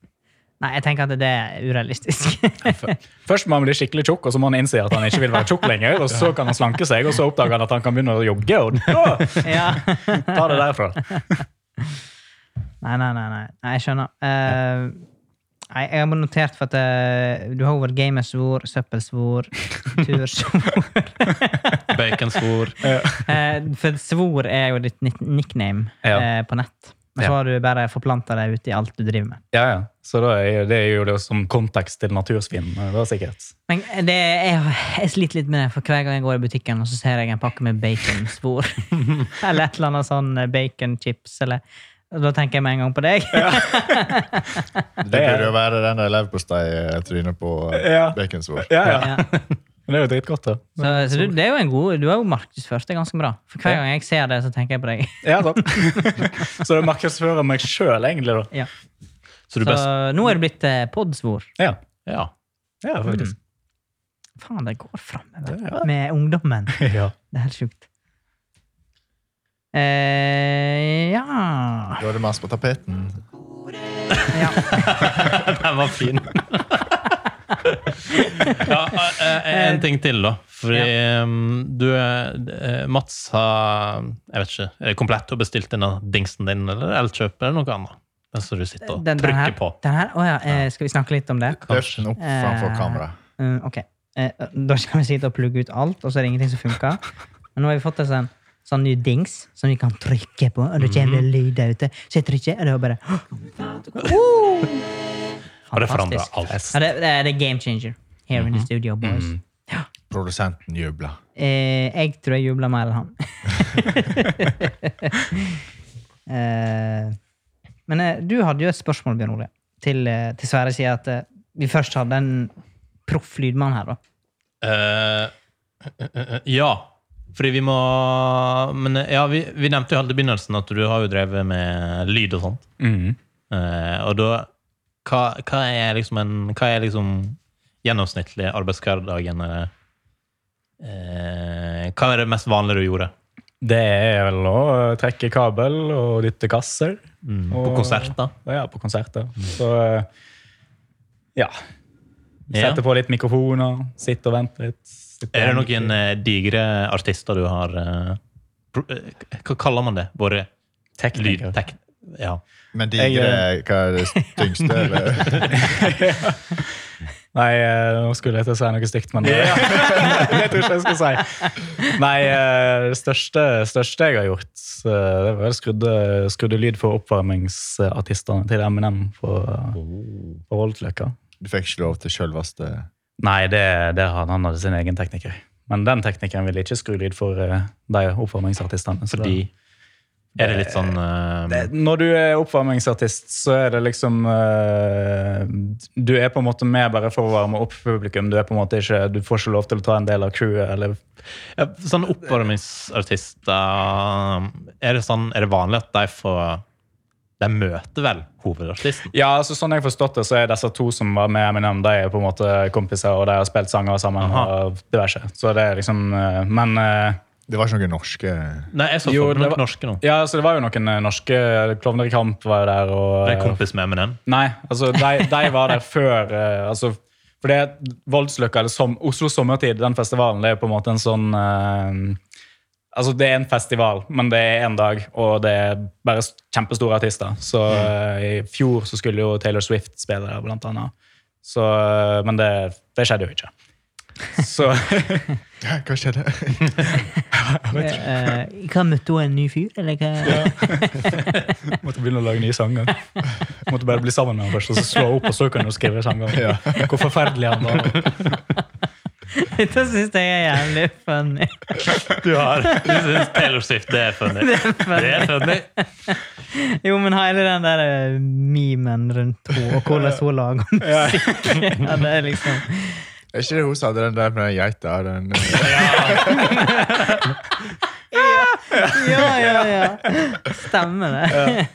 Nei, jeg tenker at det er urealistisk.
Først må han bli skikkelig tjukk, og så må han innse at han ikke vil være tjukk lenger. Og så kan han slanke seg, og så oppdager han at han kan begynne å jogge. Og da
ja.
ta det derfra.
Nei, nei, nei, nei. nei. Jeg skjønner. Eh, nei, jeg har bare notert for at eh, du har jo vært gamersvor, søppelsvor, tursvor
Baconsvor.
Eh, For svor er jo ditt nick- nickname
Ja.
eh, på nett. Men så
Ja.
har du bare forplanta deg ut i alt du driver med.
Ja, ja. Så da er, det er jo det som kontekst til natursvinn. Det er sikkert.
Men det, jeg, jeg sliter litt med det, for hver gang jeg går i butikken og så ser jeg en pakke med baconsvor, eller et eller annet sånn eh, baconchips, eller og Da tenker jeg med en gang på deg.
Det burde jo være den der leverpostei-trynet på eh,
Ja.
baconsvor.
Ja, ja.
Ja.
Men det er jo dritgodt, da.
Så, så du, det er jo en god, du har jo markedsført det ganske bra. For hver gang jeg ser det, så tenker jeg på deg.
Ja, sant. Så det markedsfører meg sjøl, egentlig, da.
Ja.
Så
Så
du best
nå er det blitt eh, podsvor.
Ja,
Ja.
ja faktisk.
Mm. Faen, det går framover
Ja.
med ungdommen.
Mm. Ja.
Det er helt sjukt. Eh, ja.
Da er det Mads på tapeten.
ja.
Den var fin. ja, eh, en ting til, da. Fordi eh, du eh, Mats har jeg vet ikke, er det komplett og bestilt denne dingsen din, eller Elkjøp eller noe annet? Den som du sitter og
Den, den her.
trykker på.
Den her? Å ja. eh, skal vi snakke litt om det?
Løft den opp framfor
Eh.
kamera.
Mm, ok. Eh, da skal vi sitte og plugge ut alt, og så er det ingenting som funker. Men nå har vi fått oss en sånn ny dings som vi kan trykke på, og det kommer det lyd der ute. Så jeg trykker, og det er bare oh!
Og det forandrer
Fantastisk.
alt.
Ja, det, det, det er game changer here in the studio, boys.
Produsenten jubler.
Eh, jeg tror jeg jubler mer enn han. eh, men eh, du hadde jo et spørsmål, Bjørn Ole, til, eh, til Sverre sier at eh, vi først hadde en proff lydmann her, da.
Eh, eh, eh, eh, ja. Fordi vi må Men eh, ja, vi, vi nevnte jo helt i begynnelsen at du har jo drevet med lyd og sånt.
Mhm.
Eh, og da hva, hva er liksom en Hva er liksom gjennomsnittlig arbeidshverdagen? eller, Eh, hva er det mest vanlige du gjorde?
Det er vel å trekke kabel og dytte kasser.
mm, På
Og-
konserter?
Ja, på konserter.
Mm.
Så eh, ja.
Ja.
Sette på litt mikrofoner, sitte og vente litt. sitte
Er det
og
noen
vente.
eh, digre artister du har eh, pro- eh, Hva kaller man det? Våre
Tekniker.
lydtek... Ja.
Men de
Jeg, eh,
hva er det tyngste? eller?
Nei, eh, nå skulle jeg til å si noe stygt, men det tror jeg ikke jeg skal si. Nei, eh, det største, største jeg har gjort, eh, det var vel skrudde, skrudde lyd for oppvarmingsartistene til Eminem på,
Oh.
på Voldsløkka.
Du fikk ikke lov til sjølveste
Nei, det, det har han hadde sin egen tekniker. Men den teknikeren ville ikke skru lyd for eh, de oppvarmingsartistene. så det-
Fordi Er det litt sånn eh,
det, når du er oppvarmingsartist, så er det liksom eh, Du er på en måte med bare for å varme opp publikum. Du er på en måte ikke, du får ikke lov til å ta en del av crewet. eller...
Ja, sånn oppvarmingsartister Er det sånn, er det vanlig at de får De møter vel hovedartisten.
Ja, altså sånn jeg har forstått det, så er disse to som var med Eminem, de er på en måte kompiser, og de har spilt sanger sammen
Aha.
og diverse. Så det er liksom eh, Men eh,
Det var ikke noen norske
Nei, jeg så
Jo,
for meg
det
noen
var-
norske nå.
Ja, så det var jo noen eh, norske Klovner i kamp var jo der, og
Jeg er kompis med M&M. Eminem.
Nei, altså de, de var der før eh, altså, For det er Voldsløkka, eller som, Oslo Sommertid, den festivalen, det er på en måte en sånn eh, Altså, det er en festival, men det er én dag, og det er bare s- kjempestore artister. Så eh, i fjor så skulle jo Taylor Swift spille der, blant annet. Så, eh, men det, det skjedde jo ikke. Så
Hæ, Hva skjedde?
Eh, hva møtte hun en ny fyr, eller hva?
måtte begynne å lage nye sanger. Måtte bare bli sammen med ham først, og så slå opp, og så kunne du skrive sanger.
Ja.
Hvor forferdelig han var.
Dette syns jeg er jævlig funny.
Du har Du syns Taylor Swift det er funny. Det er funny.
Jo, men hele den der eh, memen rundt henne, og hvordan hun lager musikk ja, det er liksom,
Er ikke det hun som hadde den der med den geita? Den, eh,
Ja, ja, ja! Stemmer det.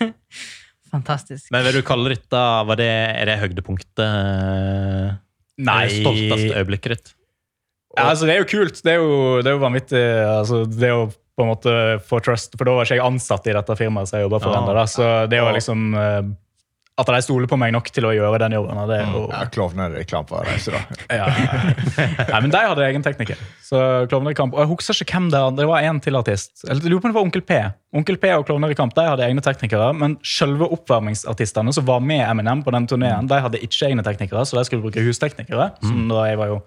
Fantastisk.
Men vil du kalle dette var det, Er det høydepunktet? eh,
Nei.
Det stolteste øyeblikket ditt?
Ja, altså, det er jo kult. Det er jo, det er jo vanvittig. Altså, det å på en måte få trust, for da var ikke jeg ansatt i dette firmaet som jeg jobba for
Ja.
enda, da, Så det å
Ja.
liksom eh, At de stoler på meg nok til å gjøre den jobben, det er jo
Mm. ja, Klovner er klam for å reise, da.
ja. Nei, men de hadde egen tekniker. Så Klovner i kamp. Og jeg husker ikke hvem det var. Det var en til artist. Jeg lurer på om det var Onkel P. Onkel P og Klovner i kamp de hadde egne teknikere, men selve oppvarmingsartistene som var med Eminem på den turneen, de hadde ikke egne teknikere, så de skulle bruke husteknikere. Som da jeg var jo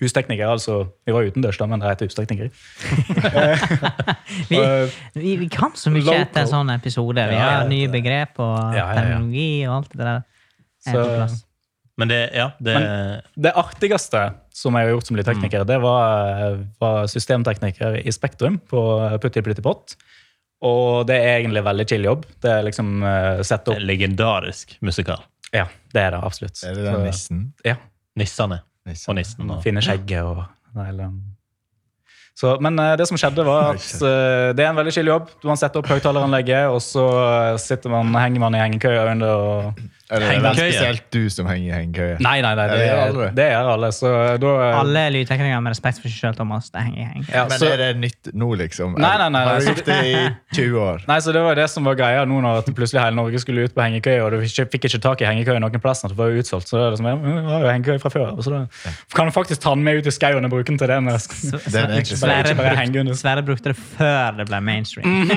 hustekniker, altså Vi var utendørs, da, men de heter husteknikere.
Vi,
Eh,
vi, vi kan så mye
Local.
etter en sånn episode. Vi
Ja,
har
ja,
nye begrep og
Ja, ja, ja.
terminologi og alt det der. Er
Så-
på plass.
Men det, ja, det
Det artigste som jeg har gjort som
Mm.
lydtekniker, det var, var systemtekniker i Spektrum på Putti Plutti Pott. Og det er egentlig veldig chill jobb. Det er liksom eh, sette
det er
opp
legendarisk musikal.
Ja, det er det absolutt.
Er det den
Så-
nissen?
Ja.
Nissene og
nissen.
nissen. Og.
Finne skjegget og Nei, eller så, men eh, det som skjedde var at eh, det er en veldig chill jobb. Man setter opp høyttaleranlegget, og så eh, sitter man, henger man i hengekøya under og
Er det
Hengekøye.
vel spesielt du som henger i hengekøye?
Nei, nei, nei, det,
det gjør
det,
alle.
gjør alle. Så da eh,
Alle lydteknikere med respekt for seg sjøl, Thomas. Det henger i heng.
ja,
Men
så-
er det nytt nå, liksom?
altså- Nei, nei, altså nei,
Har du
nei.
gjort det i 20 år?
Nei, så Det var det som var greia nå når at plutselig hele Norge skulle ut på hengekøye, og du ikke, fikk ikke tak i hengekøye noen plass. Det var jo utsolgt, så det er liksom, ja, men vi har jo hengekøye fra før. av, Så da kan du faktisk ta den med ut i skauen og bruke den til det. Men,
Så-
Det er egentlig
så- Sverre
ikke bare
brukte-
henge under.
Sverre brukte det før det ble mainstream.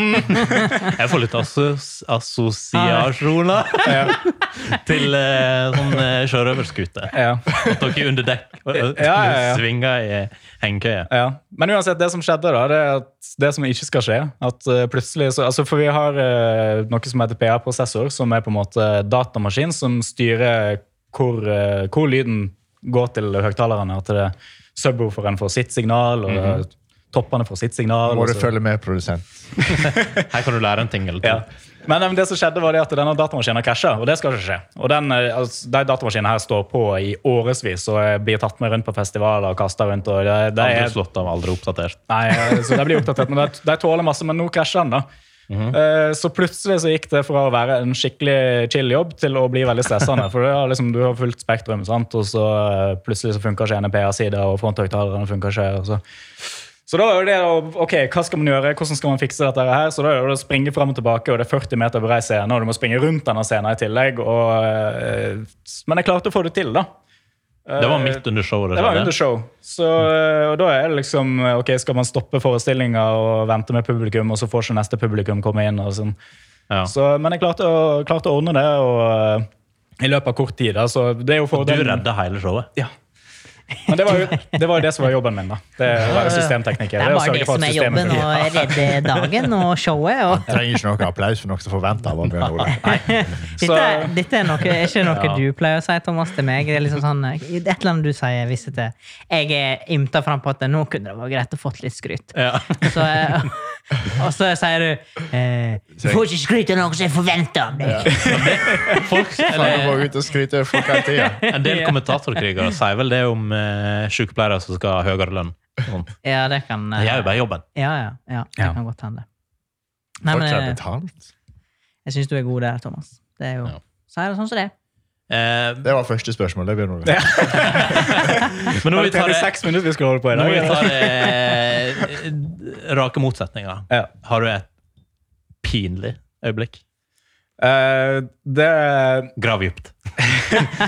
Jeg får litt assos assosiasjoner til eh, sånn eh, sjørøverskute.
ja.
At dere under dekk og, og,
Ja, ja, ja.
svinger i hengekøye.
Ja. Men uansett, det som skjedde, da, det er at det som ikke skal skje at eh, plutselig, så, altså For vi har eh, noe som heter PA-prosessor, som er på en måte datamaskin som styrer hvor, eh, hvor lyden går til høyttalerne. At det er subwooferen får sitt signal, og toppene får sitt signal.
Mhm. Må
og
du
så-
følge med, produsent?
Her kan du lære en ting eller to.
Ja. Men eh, det som skjedde var det at denne datamaskinen krasja, og det skal ikke skje. Og den, eh, altså, De datamaskinene her står på i årevis og eh, blir tatt med rundt på festivaler og kasta rundt. og det, det
Aldri
er,
slått av, aldri oppdatert.
nei, eh, så det blir oppdatert, men de, de tåler masse, men nå krasjer den. da.
Mhm.
Eh, Så plutselig så gikk det fra å være en skikkelig chill jobb til å bli veldig stressende. For det er liksom, du har fullt spektrum, sant? og så eh, plutselig så funker ikke NPA-sida, og fronthøyttalerne funker ikke. og så... Så da er jo det å, ok, hva skal man gjøre, hvordan skal man fikse dette her? Så da er det å springe frem og tilbake, og det er 40 meter bred scene, og du må springe rundt denne scenen i tillegg. Og, eh, men jeg klarte å få det til, da.
Det var midt under showet.
Det var
skjedde.
under show. Så, og da er det liksom ok, Skal man stoppe forestillinga og vente med publikum, og så får ikke neste publikum komme inn? og sånn.
Ja.
Så, men jeg klarte å, klarte å ordne det og, eh, i løpet av kort tid. da, så det er jo
Du
fordelen.
redda hele showet.
Ja. Men det var, jo, det var jo det som var jobben min. da. Det er å være systemtekniker.
Det er
å
bare
sørge
det
for at
som er
systemet
jobben,
fungerer.
å redde dagen og showet. og...
Trenger ikke noe applaus for noen som forventer hva Bjørn Ole
Dette, er-
Så-
dette er noe, er ikke noe
Ja.
du pleier å si, Thomas, til meg. Det er liksom sånn, eh, det er et eller annet du sier, hvis det er- jeg er ymta fram på at nå kunne det vært greit å fått litt skryt.
Ja.
Så, eh, og så sier du eh, Du får ikke skryt av noe som jeg forventer av deg.
Folk,
Kan du
eller,
gå ut og skryte av folk hele tida?
en del kommentatorkrigere sier vel det om eh, sykepleiere som skal ha høyere lønn. Sånn.
Ja, det kan eh,
Jeg gjør jo bare jobben.
Ja, ja, ja, det
Ja.
kan godt hende. Nei,
Folk
men,
som har
eh,
betalt?
Jeg syns du er god der, Thomas. Det er jo,
Ja.
Si det sånn som det er.
Eh,
Det var første spørsmål. Det begynner du.
men nå må
Det
vi ta
er
det,
seks minutter vi skal holde på i
nå må vi
dag.
ta det eh, rake motsetninger.
Ja.
Har du et pinlig øyeblikk?
Eh, det
Grav dypt.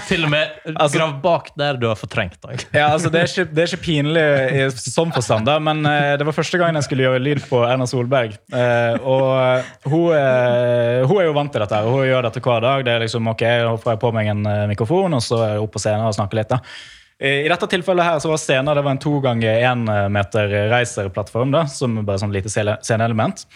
Til og med
Altså-
grav bak der du har fortrengt deg.
Ja, altså det er, ikke, det er ikke pinlig i sånn forstand, da, men eh, det var første gangen jeg skulle gjøre lyd på Erna Solberg. Eh, og eh, hun, eh, hun er jo vant til dette. her, og Hun gjør dette hver dag. Det er liksom, ok, Nå får jeg på meg en eh, mikrofon, og så er jeg opp på scenen og snakker litt. da. Eh, I dette tilfellet her så var scenen det var en to ganger én meter reiserplattform. da, som bare sånn lite scene- sceneelement.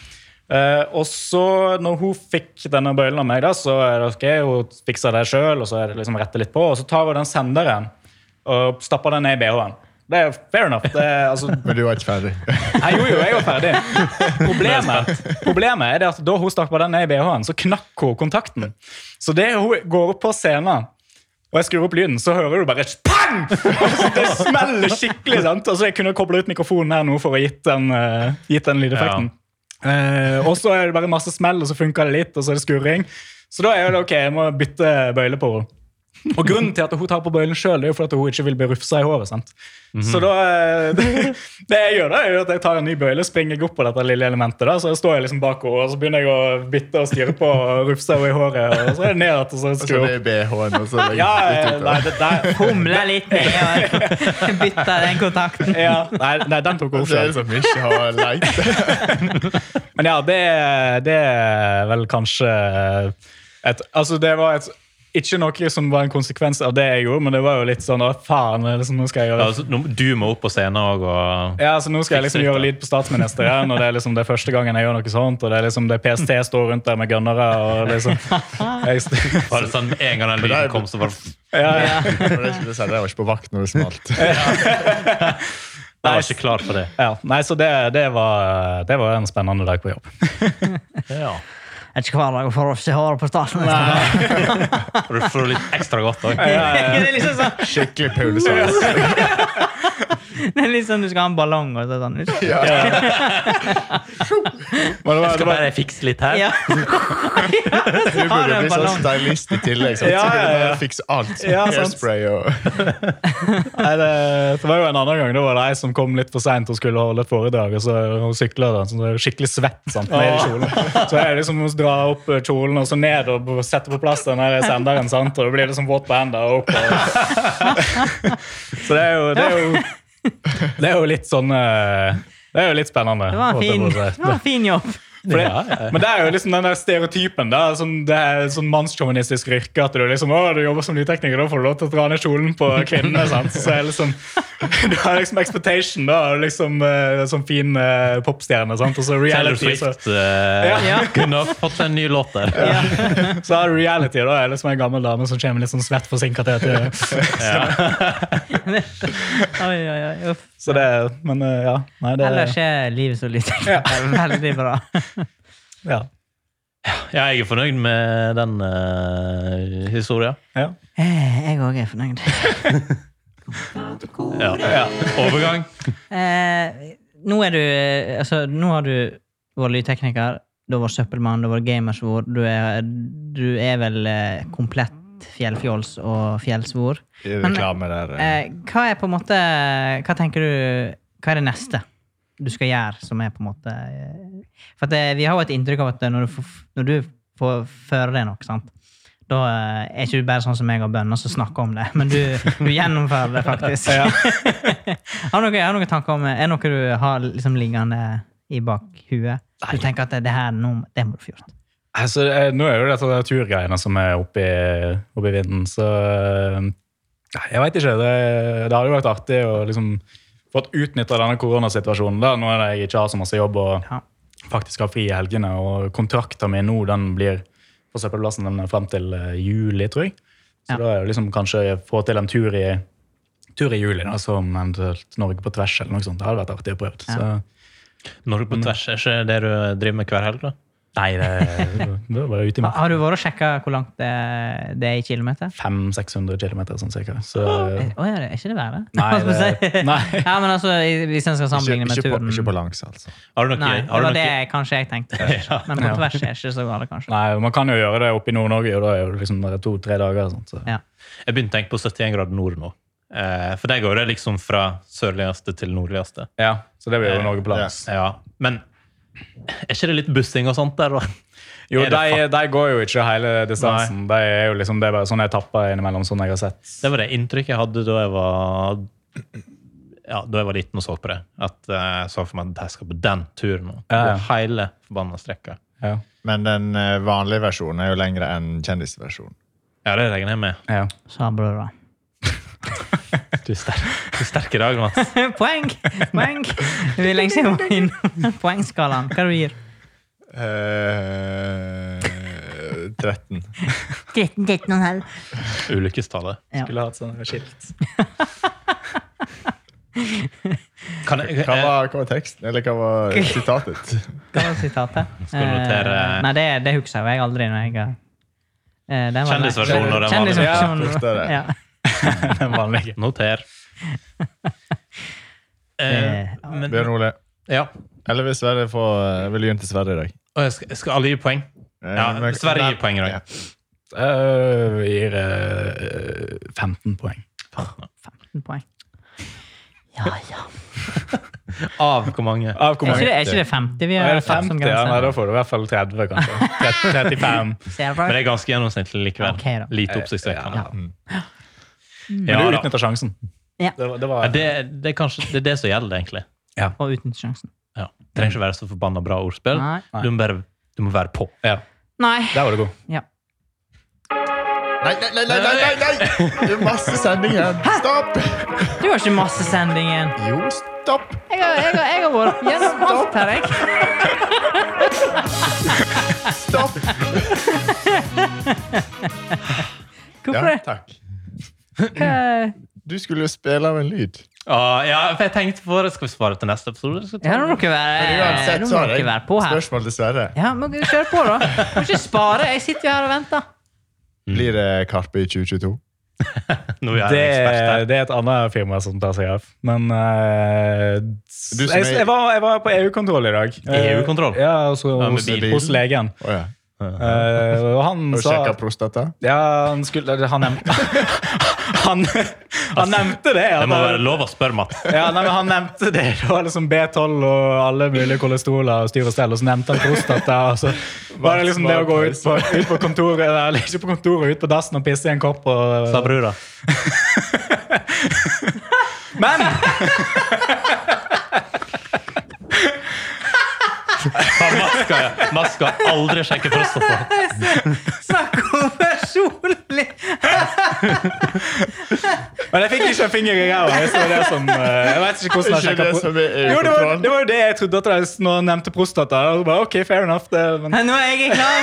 Eh, og så, når hun fikk denne bøylen av meg, da, så er det ok, hun fikser det sjøl, og så er det liksom rette litt på, og så tar hun den senderen og stapper den ned i BH-en. Det er fair enough. Det er, altså,
Men du var ikke ferdig.
jeg gjorde jo, jeg var ferdig. Problemet, problemet er det at da hun stakk på den ned i BH-en, så knakk hun kontakten. Så det hun går opp på scenen, og jeg skrur opp lyden, så hører du bare pang! Altså, Det smeller skikkelig. sant? Altså, jeg kunne kobla ut mikrofonen her nå for å gitt den, eh, gitt den lydeffekten. Eh, og så er det bare masse smell, og så funker det litt, og så er det skurring. Så da er det ok, jeg må bytte bøyle på henne. Og grunnen til at hun tar på bøylen sjøl, er jo fordi at hun ikke vil bli rufsa i håret. sant?
Mhm.
Så da, eh, det, det jeg gjør, da, er jo at jeg tar en ny bøyle, springer jeg opp på dette lille elementet, da, så står jeg liksom bak henne, og så begynner jeg å bytte og styre på og rufse henne i håret, og så er det ned igjen, og så
Så
skrur
Altså, det
jeg opp.
er BH-en. og så er det-
Ja, eh, nei, det, der,
Humle litt ned og bytte den kontakten.
ja, nei, nei, den tok hun
Det er
selv.
som ikke har lekt.
Men ja, det, det er vel kanskje et, Altså, det var et ikke noe som var en konsekvens av det jeg gjorde, men det var jo litt sånn Å, faen, er det som nå skal jeg gjøre?
Altså, nå- du må opp på scenen òg og
Ja, altså Nå skal jeg liksom gjøre lyd på statsministeren, og det er liksom det er første gangen jeg gjør noe sånt. Og det er liksom det PST står rundt der med gunnere og liksom jeg, st-
bare sånn, En gang den
det er-
lyden kom, så bare
ja, ja.
Det er ikke- det sier, Jeg var ikke på vakt når det smalt.
Jeg var ikke klar for det.
ja. Nei, så det, det, var, det var en spennende dag på jobb.
Ja.
Det er ikke hver dag å få rufse i håret på statsministeren.
Og du får litt ekstra godt òg.
det er liksom sånn
Skikkelig pulesans.
det er liksom du skal ha en ballong og så sånn.
Ja. Men det var, det
Skal
var,
bare fikse litt her.
Ja. ja,
du
så har du
burde
en
bli sånn
ballong.
stylist i tillegg. Sant?
Ja,
Så burde
ja,
du
ja.
bare fikse alt.
Ja, sant.
Hairspray og
Nei, det, det var jo en annen gang. Det var det ei som kom litt for seint og skulle holde et foredrag. og så Hun sykla da, så hun er skikkelig svett sant, ned i kjolen. Så jeg liksom må dra opp kjolen og så ned og sette på plass den der senderen. sant, Og det blir liksom våt på hendene og opp. Og... Så det er jo Det er jo, det er jo litt sånn eh, Det er jo litt spennende.
Det var en
holdt jeg
fin,
på å si.
det var en fin jobb.
For det,
Ja, ja.
Men det er jo liksom den der stereotypen. Da, som det er sånn mannssjåvinistisk yrke. At du liksom, å, du jobber som lydtekniker, da får du lov til å dra ned kjolen på kvinnene. sant? Så er det liksom, Du har liksom expectation, da. og Liksom, eh, sånn fin eh, popstjerne. sant? Og så
Taylor
reality. Så,
Swift eh,
Ja.
kunne ha fått seg en ny låt der.
Ja.
så har du reality, da. Er det liksom en gammel dame som kommer litt sånn svett forsinka til til-
Oi, oi, oi. Uff.
Så det Men eh, ja. Nei, det
Ellers er livet så lite. Det er Veldig bra.
ja.
Ja, jeg er fornøyd med den uh, historien.
Ja.
Eh, Jeg òg er fornøyd.
Ja. Overgang.
Eh, Nå er du eh, Altså, nå har du vært lydtekniker, du har vært søppelmann, du har vært gamersvor. Du er, du er vel eh, komplett fjellfjols og fjellsvor.
i reklame der. eh.
Eh, hva er på en måte Hva tenker du Hva er det neste du skal gjøre som er på en måte eh, For at det, vi har jo et inntrykk av at eh, når du, får- når du får føre deg noe, sant da eh, er ikke du bare sånn som meg og bønner som snakker om det, men du, du gjennomfører det faktisk. har du noen, har du noen tanker om Er det noe du har liksom liggende i bak huet? Du tenker at det her nå, det må du få gjort.
Altså, eh, nå er jo dette de turgreiene som er oppe i, oppe i vinden, så eh, nei, jeg veit ikke. Det, det hadde jo vært artig å liksom fått utnytta denne koronasituasjonen. da, Nå er det jeg ikke har så masse jobb og
Ja.
faktisk har fri i helgene. Og kontrakten min nå den blir på søppelplassen den er frem til eh, juli, tror jeg. Så
Ja.
da er det liksom kanskje få til en tur i, tur i juli, da, som eventuelt Norge på tvers eller noe sånt. Det hadde vært artig å prøve.
Ja.
Så.
Norge på tvers, er ikke det du driver med hver helg? da?
Nei, det, det var bare ute
Ha-
i meg.
Har du vært og sjekka hvor langt det, det er i kilometer?
500-600 km, sånn cirka. Så,
Eh, Å ja, det er ikke det verre?
Nei,
Hva skal jeg si?
det- nei.
ja, men altså, i- hvis en skal
Ikke,
sammenligne med
ikke, på,
turen
ikke balanse, altså.
Har du noe,
Nei, det
har du
var
noe,
det jeg- kanskje jeg tenkte først. Men på tvers er ikke så gale, kanskje.
nei, man kan jo gjøre det oppe i Nord-Norge, og da er det liksom bare to-tre dager. og Sånt, så.
Ja.
Jeg begynte å tenke på 71 grader nord nå. Eh, for der går det liksom fra sørligste til nordligste.
Ja, så det blir jo Norge på langs.
Ja, Men er ikke det litt bussing og sånt der, da?
Jo,
Er det
de,
fa-
de går jo ikke hele distansen. De er jo liksom, det er bare sånne etapper innimellom, sånn jeg har sett.
Det var det inntrykket jeg hadde da jeg var ja, da jeg var liten og så på det. At eh, jeg så for meg at jeg skal på den turen nå.
Ja, ja.
Gå Hele forbanna strekka.
Ja,
Men den eh, vanlige versjonen er jo lengre enn kjendisversjonen.
Ja, det regner jeg med.
ja.
Sa brødra.
Du er sterk, du er sterk i dag, Mats.
Poeng! Poeng! Det er lenge siden jeg var innom poengskalaen. Hva du gir du?
Eh, 13.
13, 13,5.
Ulykkestallet.
Ja.
Skulle hatt sånn skilt.
Kan jeg,
Hva
eh,
var, hva var teksten? Eller hva var sitatet?
Hva var sitatet?
Skal du notere-
Eh, nei, det, det husker jeg jo aldri. når jeg... eh, den var-
Kjendisversjonen og den
Kjendisversjonen.
vanlige. Ja,
Ja.
Den vanlige.
noter. Eh, men,
Bjørn Ole.
ja.
Eller vil Sverre få eh, Vil Jun til Sverre i dag?
Og jeg skal, skal alle gi poeng?
Eh,
Ja,
men-
Sverre gir poeng i
Ja.
dag.
Øh, gir øh, 15 poeng.
15 poeng. Ja, ja.
Av hvor mange?
Av hvor
Er ikke
mange?
det, er ikke det 50 vi
Er
har
det 50? Ja, nei, da får du i hvert fall 30, kanskje. 30, 35.
Ser
Men
du?
det er ganske gjennomsnittlig likevel.
Ok, da.
Lite oppsiktsvekkende. Mm.
Ja.
Men
Ja,
du
da.
utnytter sjansen.
Ja.
Det, var- det
Ja,
var
det, det, er kanskje, det er det som gjelder, egentlig.
Og uten sjansen.
Ja. Trenger ikke være så forbanna bra ordspill.
Nei.
Du må, bare, du må være på.
Ja,
Nei.
der var du god.
Ja.
Nei, nei, nei, nei, nei, nei, nei! Det er masse sending her. Stopp!
Du har ikke masse sending igjen.
Jo, stopp!
Jeg har, jeg har, jeg har vært gjennom alt her, jeg.
Stopp!
Hvorfor
Ja,
det?
takk.
Eh,
Du skulle jo spille av en lyd.
Ah, ja, for jeg tenkte på det. Skal vi svare til neste episode? Skal vi ta
Ja, nå må
det?
dere være,
Uansett
nå
så
Eh, må
har
dere
jeg
være på her.
spørsmål til Sverre.
Ja, men kjør på, da. Må ikke spare. Jeg sitter jo her og venter. Mm.
Blir det Karpe i 2022?
Nå er jeg ekspert her.
Det, det er et annet firma som tar seg av. Men eh,
Du som
jeg,
er-
jeg, var, jeg var på EU-kontroll i dag. Eh,
EU-kontroll?
Ja, altså,
E Ja, med
hos,
bilen.
hos legen.
Å ja.
Eh, og han
Har du
sa
sjekka prostata?
Ja, han skulle Han nevnte Han, han nevnte det. at
Det må
han-
være lov å spørre, Mats.
Ja, nei, men Han nevnte det. Det var liksom B12 og alle mulige kolesteroler og styr og stell. Og så nevnte han prostata. Og så var det liksom det å gå ut på, ut på kontoret eller ikke på kontoret, ut på dassen og pisse i en kopp.
Sa
Og,
brura.
men
Faen, Mats skal- Mats skal aldri sjekke altså. prostata.
Snakk om personlig!
men jeg fikk ikke en finger i ræva. Jeg, så det som, eh, jeg vet ikke hvordan
Ikke det
han sjekket pro-
som er
jo, det var,
EU-kontrollen?
det var jo det jeg trodde at det var når han nevnte prostata. Og så bare, ok, fair enough det, men,
Nå er jeg klar.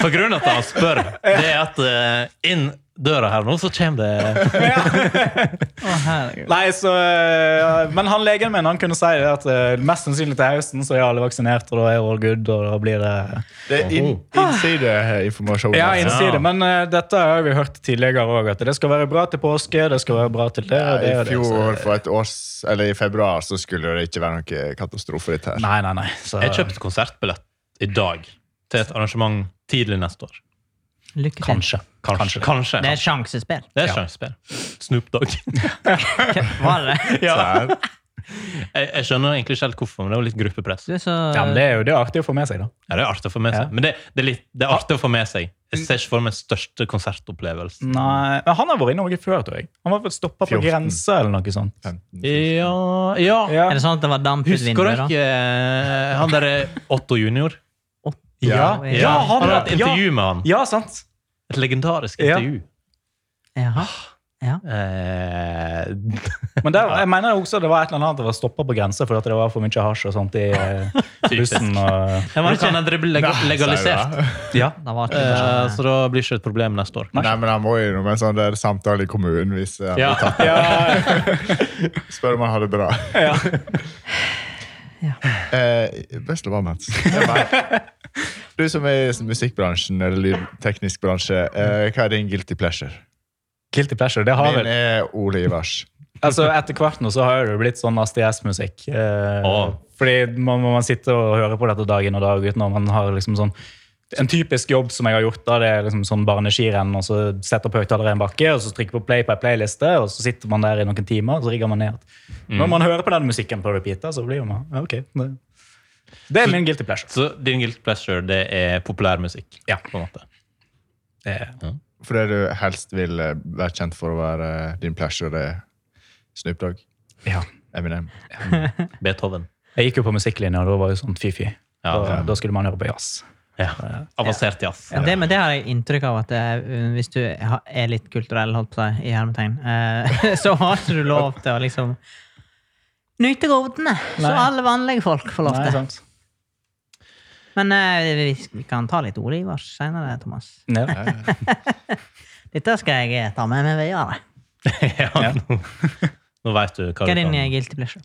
For grunnen til at han spør, det er at eh, inn døra her nå, så kommer det
Å, herregud.
Nei, så, eh, Men han legen min han kunne si det at eh, mest sannsynlig til høsten så er alle vaksinert, og da er all good. og da blir det...
Det er in innsideinformasjon.
Ja,
altså.
innside.
Ja.
Men eh, dette har vi hørt tidligere òg. At det skal være bra til påske, det skal være bra til det. og det,
I
og det, så-
fjor, for et år, s- eller i februar, så skulle det ikke være noe katastrofe dette her.
Nei, nei, nei. Så,
Jeg kjøpte konsertbillett i dag til et arrangement tidlig neste år.
Lykke til.
Kanskje.
Kanskje. Kanskje.
Det er sjansespill.
Det er sjansespill. Snoop Dogg.
Var det det?
Ja.
Så her-
Jeg, jeg skjønner egentlig ikke helt hvorfor, men det er jo litt gruppepress.
Du er så
Ja, men det er jo det er artig å få med seg, da.
Ja, det er artig å få med
Ja.
seg. Men det, det, er litt, det er artig å få med seg. Jeg ser ikke for meg største konsertopplevelsen.
Nei, men Han har vært i Norge før, tror jeg. Han var stoppa på
14.
grensa eller noe sånt.
15.
Ja, ja.
Ja.
Er det sånn at det var damp ut
Husker
vinduet,
dere
da?
eh, han derre Otto junior?
Ja,
Ja,
ja,
han
han
hadde et
ja,
intervju med han.
ja, sant.
Et legendarisk
Ja.
intervju.
Jaha. Ja.
Eh,
Men der, jeg mener også det var et eller annet at det var stoppa på grensa fordi at det var for mye hasj og sånt i eh,
Typisk.
bussen. Og,
men kan den bli leg
Nei,
legalisert?
sier jeg da.
ja.
Da var det
Eh,
ikke
så da blir ikke det et problem neste år.
Nei, men han må jo innom en sånn der samtale i kommunen hvis han
Ja.
Ja,
spør om han har det bra. Eh, best of all, Mats. Det er meg. Du som er i musikkbransjen eller lydteknisk bransje, eh, hva er din guilty pleasure?
Guilty pleasure. det har
Min
vel.
er Ole Ivars.
Altså, Etter hvert nå så har det jo blitt sånn ASTS-musikk. Eh,
Å.
Fordi man, man sitter og hører på dette dag inn og dag ut når man har liksom sånn en typisk jobb som jeg har gjort, da, det er liksom sånn barneskirenn, og så setter på høyttalere i en bakke, og så trykker på play på en playliste, og så sitter man der i noen timer, og så rigger man ned.
Mm.
Når man hører på den musikken på repeat, da, så blir man ja, ok. Det, det er min guilty pleasure.
Så din guilt pleasure, det er populærmusikk?
Ja.
På en måte.
Det er
For det du helst vil eh, være kjent for å være eh, din pleasure, det er Snoop Dogg,
Ja.
Eminem.
Beethoven.
Jeg gikk jo på musikklinja, og da var jo sånn fy-fy.
Ja,
da,
ja.
da skulle man høre på jazz.
Ja. Eh, Avansert jazz.
Ja, det, men det har jeg inntrykk av at eh, hvis du ha- er litt kulturell, holdt på å si, i hermetegn, eh, så har ikke du lov til å liksom nyte godene, så
Nei.
alle vanlige folk får lov
Nei,
til.
sant?
Men eh, vi, vi kan ta litt ord i oss senere, Thomas.
Ja.
Dette skal jeg eh, ta med meg videre.
Ja, Nå, nå veit du hva
Hva
du
er din
kan.
eh, guilty pleasure?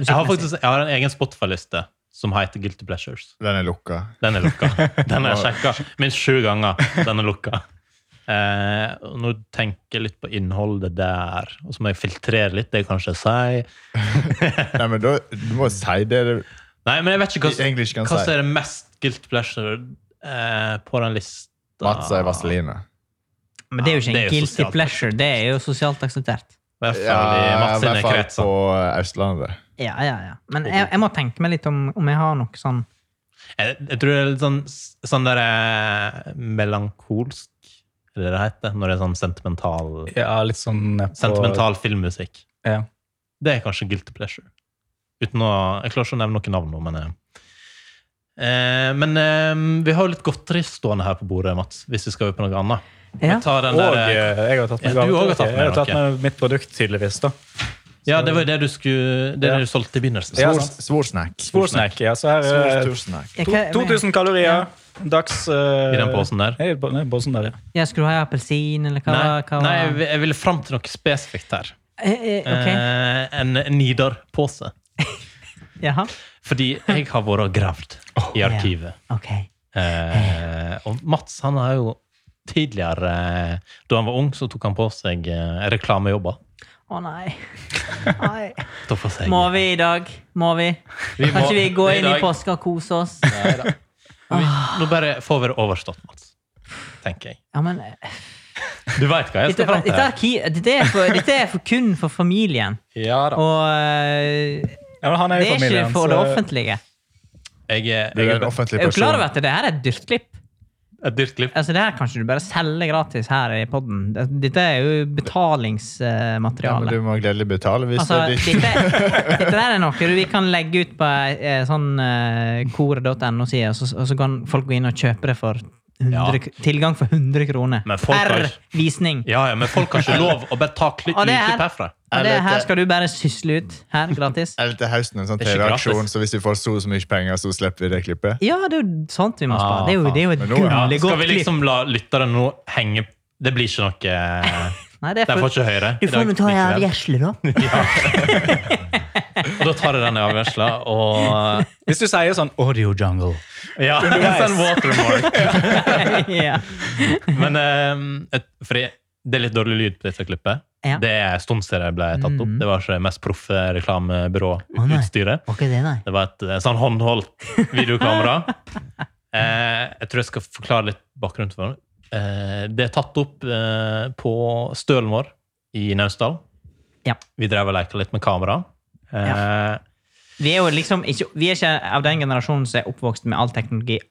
Jeg har faktisk jeg har en egen Spotify-liste som heter Guilty Pleasures.
Den er lukka.
Den er lukka. Den har jeg sjekka minst sju ganger. Den er lukka. Eh, og nå tenker jeg litt på innholdet der, og så må jeg filtrere litt det jeg kanskje sier.
Nei, men da, du må si det du
Nei, men jeg vet ikke hva,
I English kan
hva
si.
som er det mest guilt pleasure eh, på den lista.
Mats sier Vaseline.
Men det er jo ikke
Ja, det er
en
jo
guilty
sosialt.
pleasure. Det er jo sosialt akseptert.
I hvert
Ja,
fall i Mats
i
sine
hvert fall
kretser.
på Østlandet.
Ja, ja, ja. Men jeg, jeg må tenke meg litt om om jeg har noe sånn
Jeg, jeg tror det er litt sånn, sånn der eh, melankolsk Er det det heter? Når det er sånn sentimental,
Ja, litt sånn eh, på-
sentimental filmmusikk.
Ja.
Det er kanskje guilty pleasure. Uten å, jeg klarer ikke å nevne noen navn nå, men eh, eh, Men eh, vi har jo litt godteri stående her på bordet, Mats, hvis vi skal over på noe annet.
Ja.
Vi tar den
Og
der,
eh,
eh,
jeg har tatt med
Ja, du
gave
også
til
har tatt
dere. Jeg har
med
tatt
noe.
med mitt produkt, tydeligvis. da.
ja, det var jo det du skulle Det
Ja.
du solgte i begynnelsen.
Ja.
Svor- Svorsnack.
Sporsnack. Ja, så her
Svor-
er eh,
Svorsnack.
Jeg,
to- 2000 kalorier. Dags eh,
I den posen der.
Hey, posen der, ja.
jeg skulle ha appelsin, eller hva?
Nei,
hva
nei jeg, vil- jeg ville fram til noe spesifikt her.
Eh, eh, ok.
Eh, en Nidar-pose.
Jaha.
Fordi jeg har vært og gravd i arkivet.
Ok.
Eh, og Mats han har jo tidligere eh, Da han var ung, så tok han på seg eh, reklamejobber.
Å nei. nei.
Da får jeg-
Må vi i dag? Må vi?
Vi
Kan
må-
ikke vi gå inn i
dag-
påska og kose oss?
Vi, nå bare får vi det overstått, Mats. Tenker jeg.
Ja, men eh,
Du veit hva jeg
Dette
skal fram
dette
til?
arki- dette er, for, dette er for kun for familien.
Ja da.
Og eh,
Ja, men han er
det
jo
er ikke
familien,
for det
så-
offentlige.
Jeg er,
Du er
jeg
en
er
offentlig
Er du klar over
person.
at det her er et dyrt klipp?
et dyrt klipp.
Altså, det her kan ikke du bare selge gratis her i podden. Dette er jo
Ja, men
betalingsmateriale.
du må gledelig betale hvis
Altså,
det er ditt.
dette, dette der er noe vi kan legge ut på eh, sånn eh, kore.no-side, og, så- og så kan folk gå inn og kjøpe det for 100,
Ja.
k- tilgang for 100 kroner.
Men folk har
Per
ikke-
visning.
Ja, ja, men folk har ikke lov å bare ta kli-
Og det er-
lydklipp herfra.
Og det
Eller
her
det-
skal du bare sysle ut her gratis.
Eller til høsten en sånn
Det er ikke
TV-aksjon,
gratis.
så hvis vi får så og så mye penger, så slipper vi det klippet.
Ja, det er jo sånt vi må spare.
Ah,
Det er jo, det er jo et
Men nå-
Ja,
gullig
skal
godt
vi
klipp.
liksom la lytteren nå henge Det blir ikke noe eh,
Nei, det
De
er
får
for,
ikke høre.
du får nå ta av gjesle, da.
Og da tar jeg den i avgjørelsen, og
Hvis du sier sånn audio jungle
Ja, sånn watermark.
ja.
Men eh, et, fordi det er litt dårlig lyd på dette klippet.
Ja.
Det er en stund siden jeg ble tatt opp.
Mhm.
Det var ikke det mest proffe
Å, nei.
reklamebyråutstyret.
Var ikke det, nei?
Det var et eh, sånn håndholdt videokamera. eh, jeg tror jeg skal forklare litt bakgrunn for det. Eh, det er tatt opp eh, på stølen vår i Naustdal.
Ja.
Vi drev og leka litt med kamera. Eh,
Vi er jo liksom ikke, vi er ikke av den generasjonen som er oppvokst med all teknologi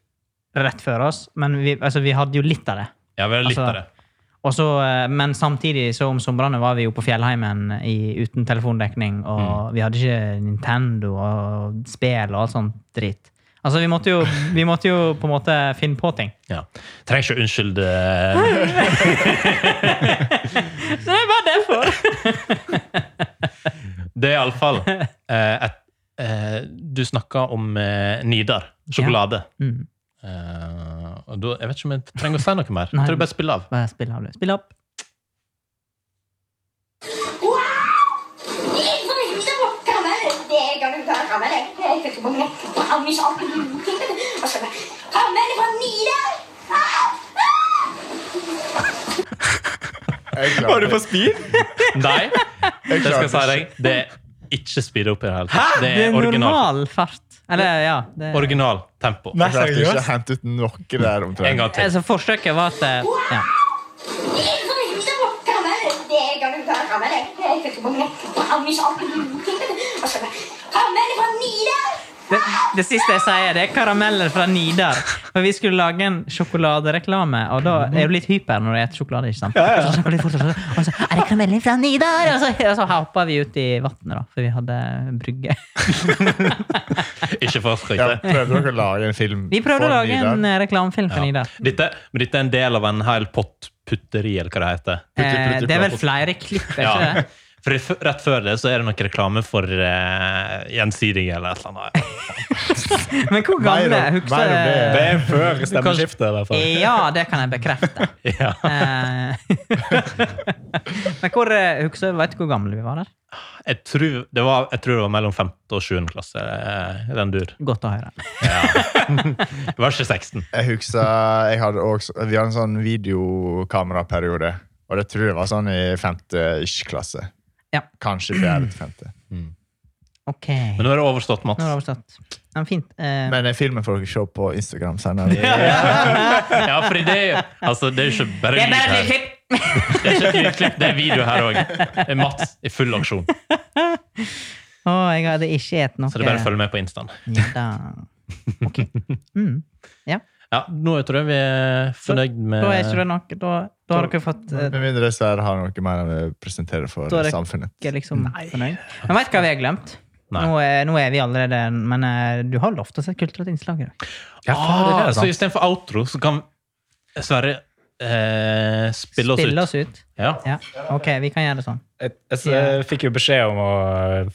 rett før oss, men vi, altså, vi hadde jo litt av det.
ja, vi har litt
Altså,
av det.
Og så, eh, men samtidig så om somrene var vi jo på fjellheimen i, uten telefondekning, og
Mm.
vi hadde ikke Nintendo og spill og alt sånt dritt. Altså, vi måtte, jo, vi måtte jo på en måte finne på ting.
Ja. Trenger ikke å unnskylde eh,
Så det var derfor!
Det er iallfall eh, et eh, Du snakka om eh, Nidar. Sjokolade.
Mm.
Eh, og da, jeg vet ikke om jeg trenger å si noe mer.
Nei.
Jeg tror jeg bare spiller av.
Bare spill av, du. Spill opp.
Wow! 你怎么这么干嘛？得干干。 karamell, jeg. Jeg fikk så mange brownies opp i munnen. Og så bare, Karamell fra Nidar! Ah! Ah!
Jeg klarer det.
speed?
Nei, det skal jeg si
klarte
deg. Det er ikke speed up i det hele
Hæ?
tatt. Det er original,
normal fart. Eller, ja. Det,
original tempo.
Nei,
Jeg klarte ikke å
seriøst?
hente ut noe der
En
omtrent.
gang til.
altså, forsøket var at eh, ja.
Jeg får ikke på karamell. Det kan du ta karamell, jeg. Jeg fikk så mange brownies opp i munnen. Og så bare, Karamell fra Nidar!
det, det siste jeg sier, det er karameller fra Nidar. For vi skulle lage en sjokoladereklame, og da er du litt hyper når du spiser sjokolade. ikke sant?
ja.
Så snakker du litt fort, og så- sånn, Og så er det karameller fra Nidar! Og så, og så hoppa vi ut i vannet, da, for vi hadde brygge.
Ikke for
Ja,
å skryte.
prøvde dere å lage en film?
Vi prøvde å
for
lage en
Nidar?
eh, reklamefilm for
Ja.
Nidar.
Dette, men dette er en del av en hel pottputteri, eller hva det heter.
Eh, det er vel flere klipp, er ikke
Ja.
det?
For f- rett før det så er det noe reklame for eh, gjensidige eller et eller annet.
Men
Mer
hvor
om-
gamle?
mer om det.
Det
Husker
er før stemmeskiftet, i hvert fall.
Ja, det kan jeg bekrefte.
Ja.
Eh, Men hvor, eh, husker, vet du hvor gamle vi var der?
Jeg, tror, det var, jeg tror det var mellom 5. og 7. klasse. eh, i Den dur.
Godt å høre.
Det var ikke 16.
Jeg husker jeg hadde også, Vi hadde en sånn videokameraperiode. Og det tror jeg var sånn i femte ish klasse.
Ja.
Kanskje fjerde til femte.
Ok.
Men nå er det overstått,
Nå har
Mats.
jeg forstått. Ja, men fint. Eh,
Men den filmen får dere se på Instagram senere.
Ja, for det er jo altså, det er jo ikke bare
det er
lyd
bare et
her.
lydklipp!
Det er ikke et lydklipp, det er video her òg. Mats i full aksjon.
Å, jeg hadde ikke et noe.
Så det er bare å følge med på Instaen.
Ja, da. Ok. Mm. Ja,
Ja, nå tror jeg vi er fornøyd med
da er ikke det nok. Da, da har dere fått eh,
Med mindre Sverre har noe mer å presentere for
Da er det-
samfunnet.
dere liksom fornøyd. Men vet du hva vi har glemt?
Nei.
Nå er, nå er vi allerede Men eh, du har lovt å se kulturelt innslag i dag.
Ja, faen, det er
Ah,
det,
så
sant?
istedenfor outro, så kan Sverre eh, spille oss
Spille
ut.
oss ut.
Ja.
Ja. Ok, vi kan gjøre det sånn.
Jeg, jeg, s- fikk jo beskjed om å eh,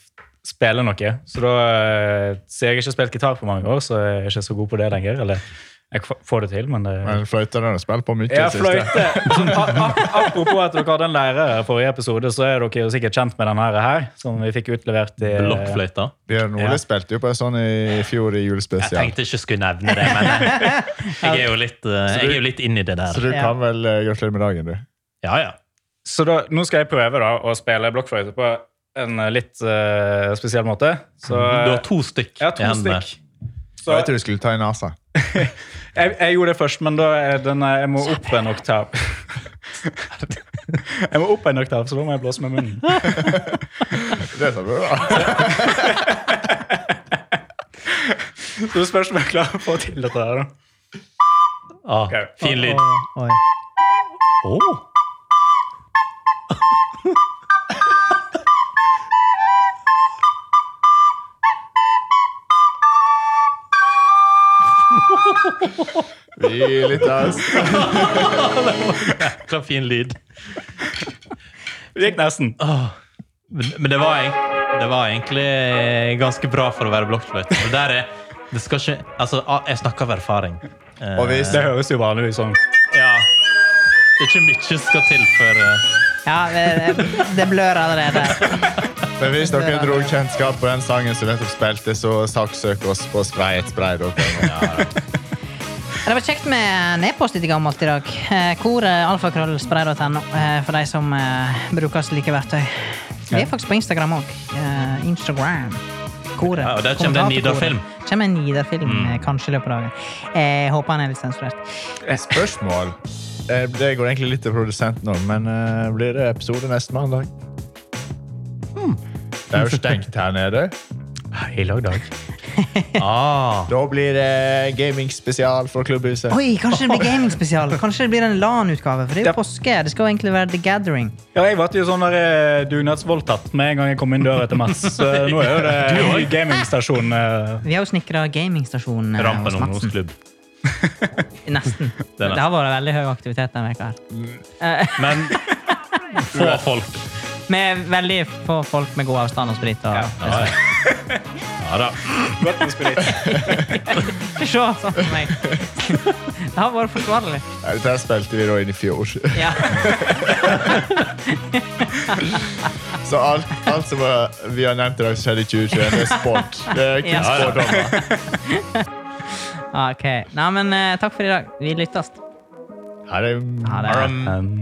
spille noe, så da eh, Så jeg har ikke spilt gitar på mange år, så jeg er ikke så god på det lenger. Eller jeg f- får det til, men eh, det
Men fløyta har du spilt på mye.
Ja,
synes jeg.
fløyte. Sånn, a- a- apropos at dere hadde en lærer i forrige episode, så er dere jo sikkert kjent med denne her, som vi fikk utlevert i eh,
Blokkfløyta.
Bjørn Ole
Ja.
spilte jo på en sånn i fjor i
Jeg
julespesial.
tenkte ikke jeg skulle nevne det, men jeg er jo litt, eh, jeg er jo litt inni det
Så
der.
du
Ja.
kan vel eh, gratulere med dagen, du.
Ja, ja.
Så da, nå skal jeg prøve da å spille blokkfløyte på en eh, litt eh, spesiell måte. Så,
Du Eh, har to stykk
jeg har to
i hendene.
stykk.
Jeg
Så
vet du skulle ta i nesa.
jeg, jeg gjorde det først, men da er den, eh, jeg må opp en oktav. Jeg må opp en oktav, så da må jeg blåse med munnen.
Det sa du, da.
Så det spørs om jeg klarer å få til dette her, da.
Ah,
Ok.
Fin lyd.
Å, oi.
Oh.
Gi litt av oss.
Klar, fin lyd.
Det gikk nesten.
Men men det var, egent- det var egentlig ganske bra for å være blokkfløyte. For der er det skal ikke, altså, ah, Jeg snakker av erfaring. Eh,
Og hvis
Det høres jo vanligvis sånn
ja. Det er ikke mye skal til for eh,
Ja, det, det blør allerede.
Men hvis dere dro kjennskap på den sangen som nettopp spilte, så saksøk oss på sprayetspray.no.
Det var kjekt med en e-post litt gammelt i dag. Eh, Hvor eh, alfakrøllspray.no eh, for de som eh, bruker slike verktøy. Vi er faktisk på Instagram òg. Instagram. Koret.
Ja, og der kommer det en Mm. Nidar-film.
Kommentatorkoret. Kommer en Nidar-film eh, kanskje i løpet av dagen. Eh, Jeg håper han er litt sensurert.
Spørsmål? Eh, Det går egentlig litt til produsenten òg, men eh, blir det episode neste mandag? Det er jo stengt her nede.
I lagdag.
ah.
Da blir det gamingspesial for klubbhuset.
Oi, kanskje det blir gamingspesial? Kanskje det blir en LAN-utgave? For det er jo påske. Det skal jo egentlig være The Gathering.
Ja, jeg ble jo sånn der eh, dugnadsvoldtatt med en gang jeg kom inn døra til Mats. Så nå er jo det en ny gamingstasjon. eh.
Vi har jo snekra gamingstasjon eh,
Rampen
hos Madsen.
ungdomsklubb.
Nesten.
Det er
Det har vært veldig høy aktivitet denne veka her.
Men få folk.
Med veldig få folk med god avstand og sprit. Og,
Ja, ja. ja da.
Godt med sprit.
Ikke se sånn på meg. Det har vært forsvarlig.
Ja, Dette her spilte vi da inn i fjor.
Ja.
Så alt, alt som eh, vi har nevnt i dag, som skjedde i 2021, det er sport. Det er kun
Ja.
spådommer.
Ok. Nei, men eh, takk for i dag. Vi lyttes.
Ja, det er-
Ha det.
Arum.
Um,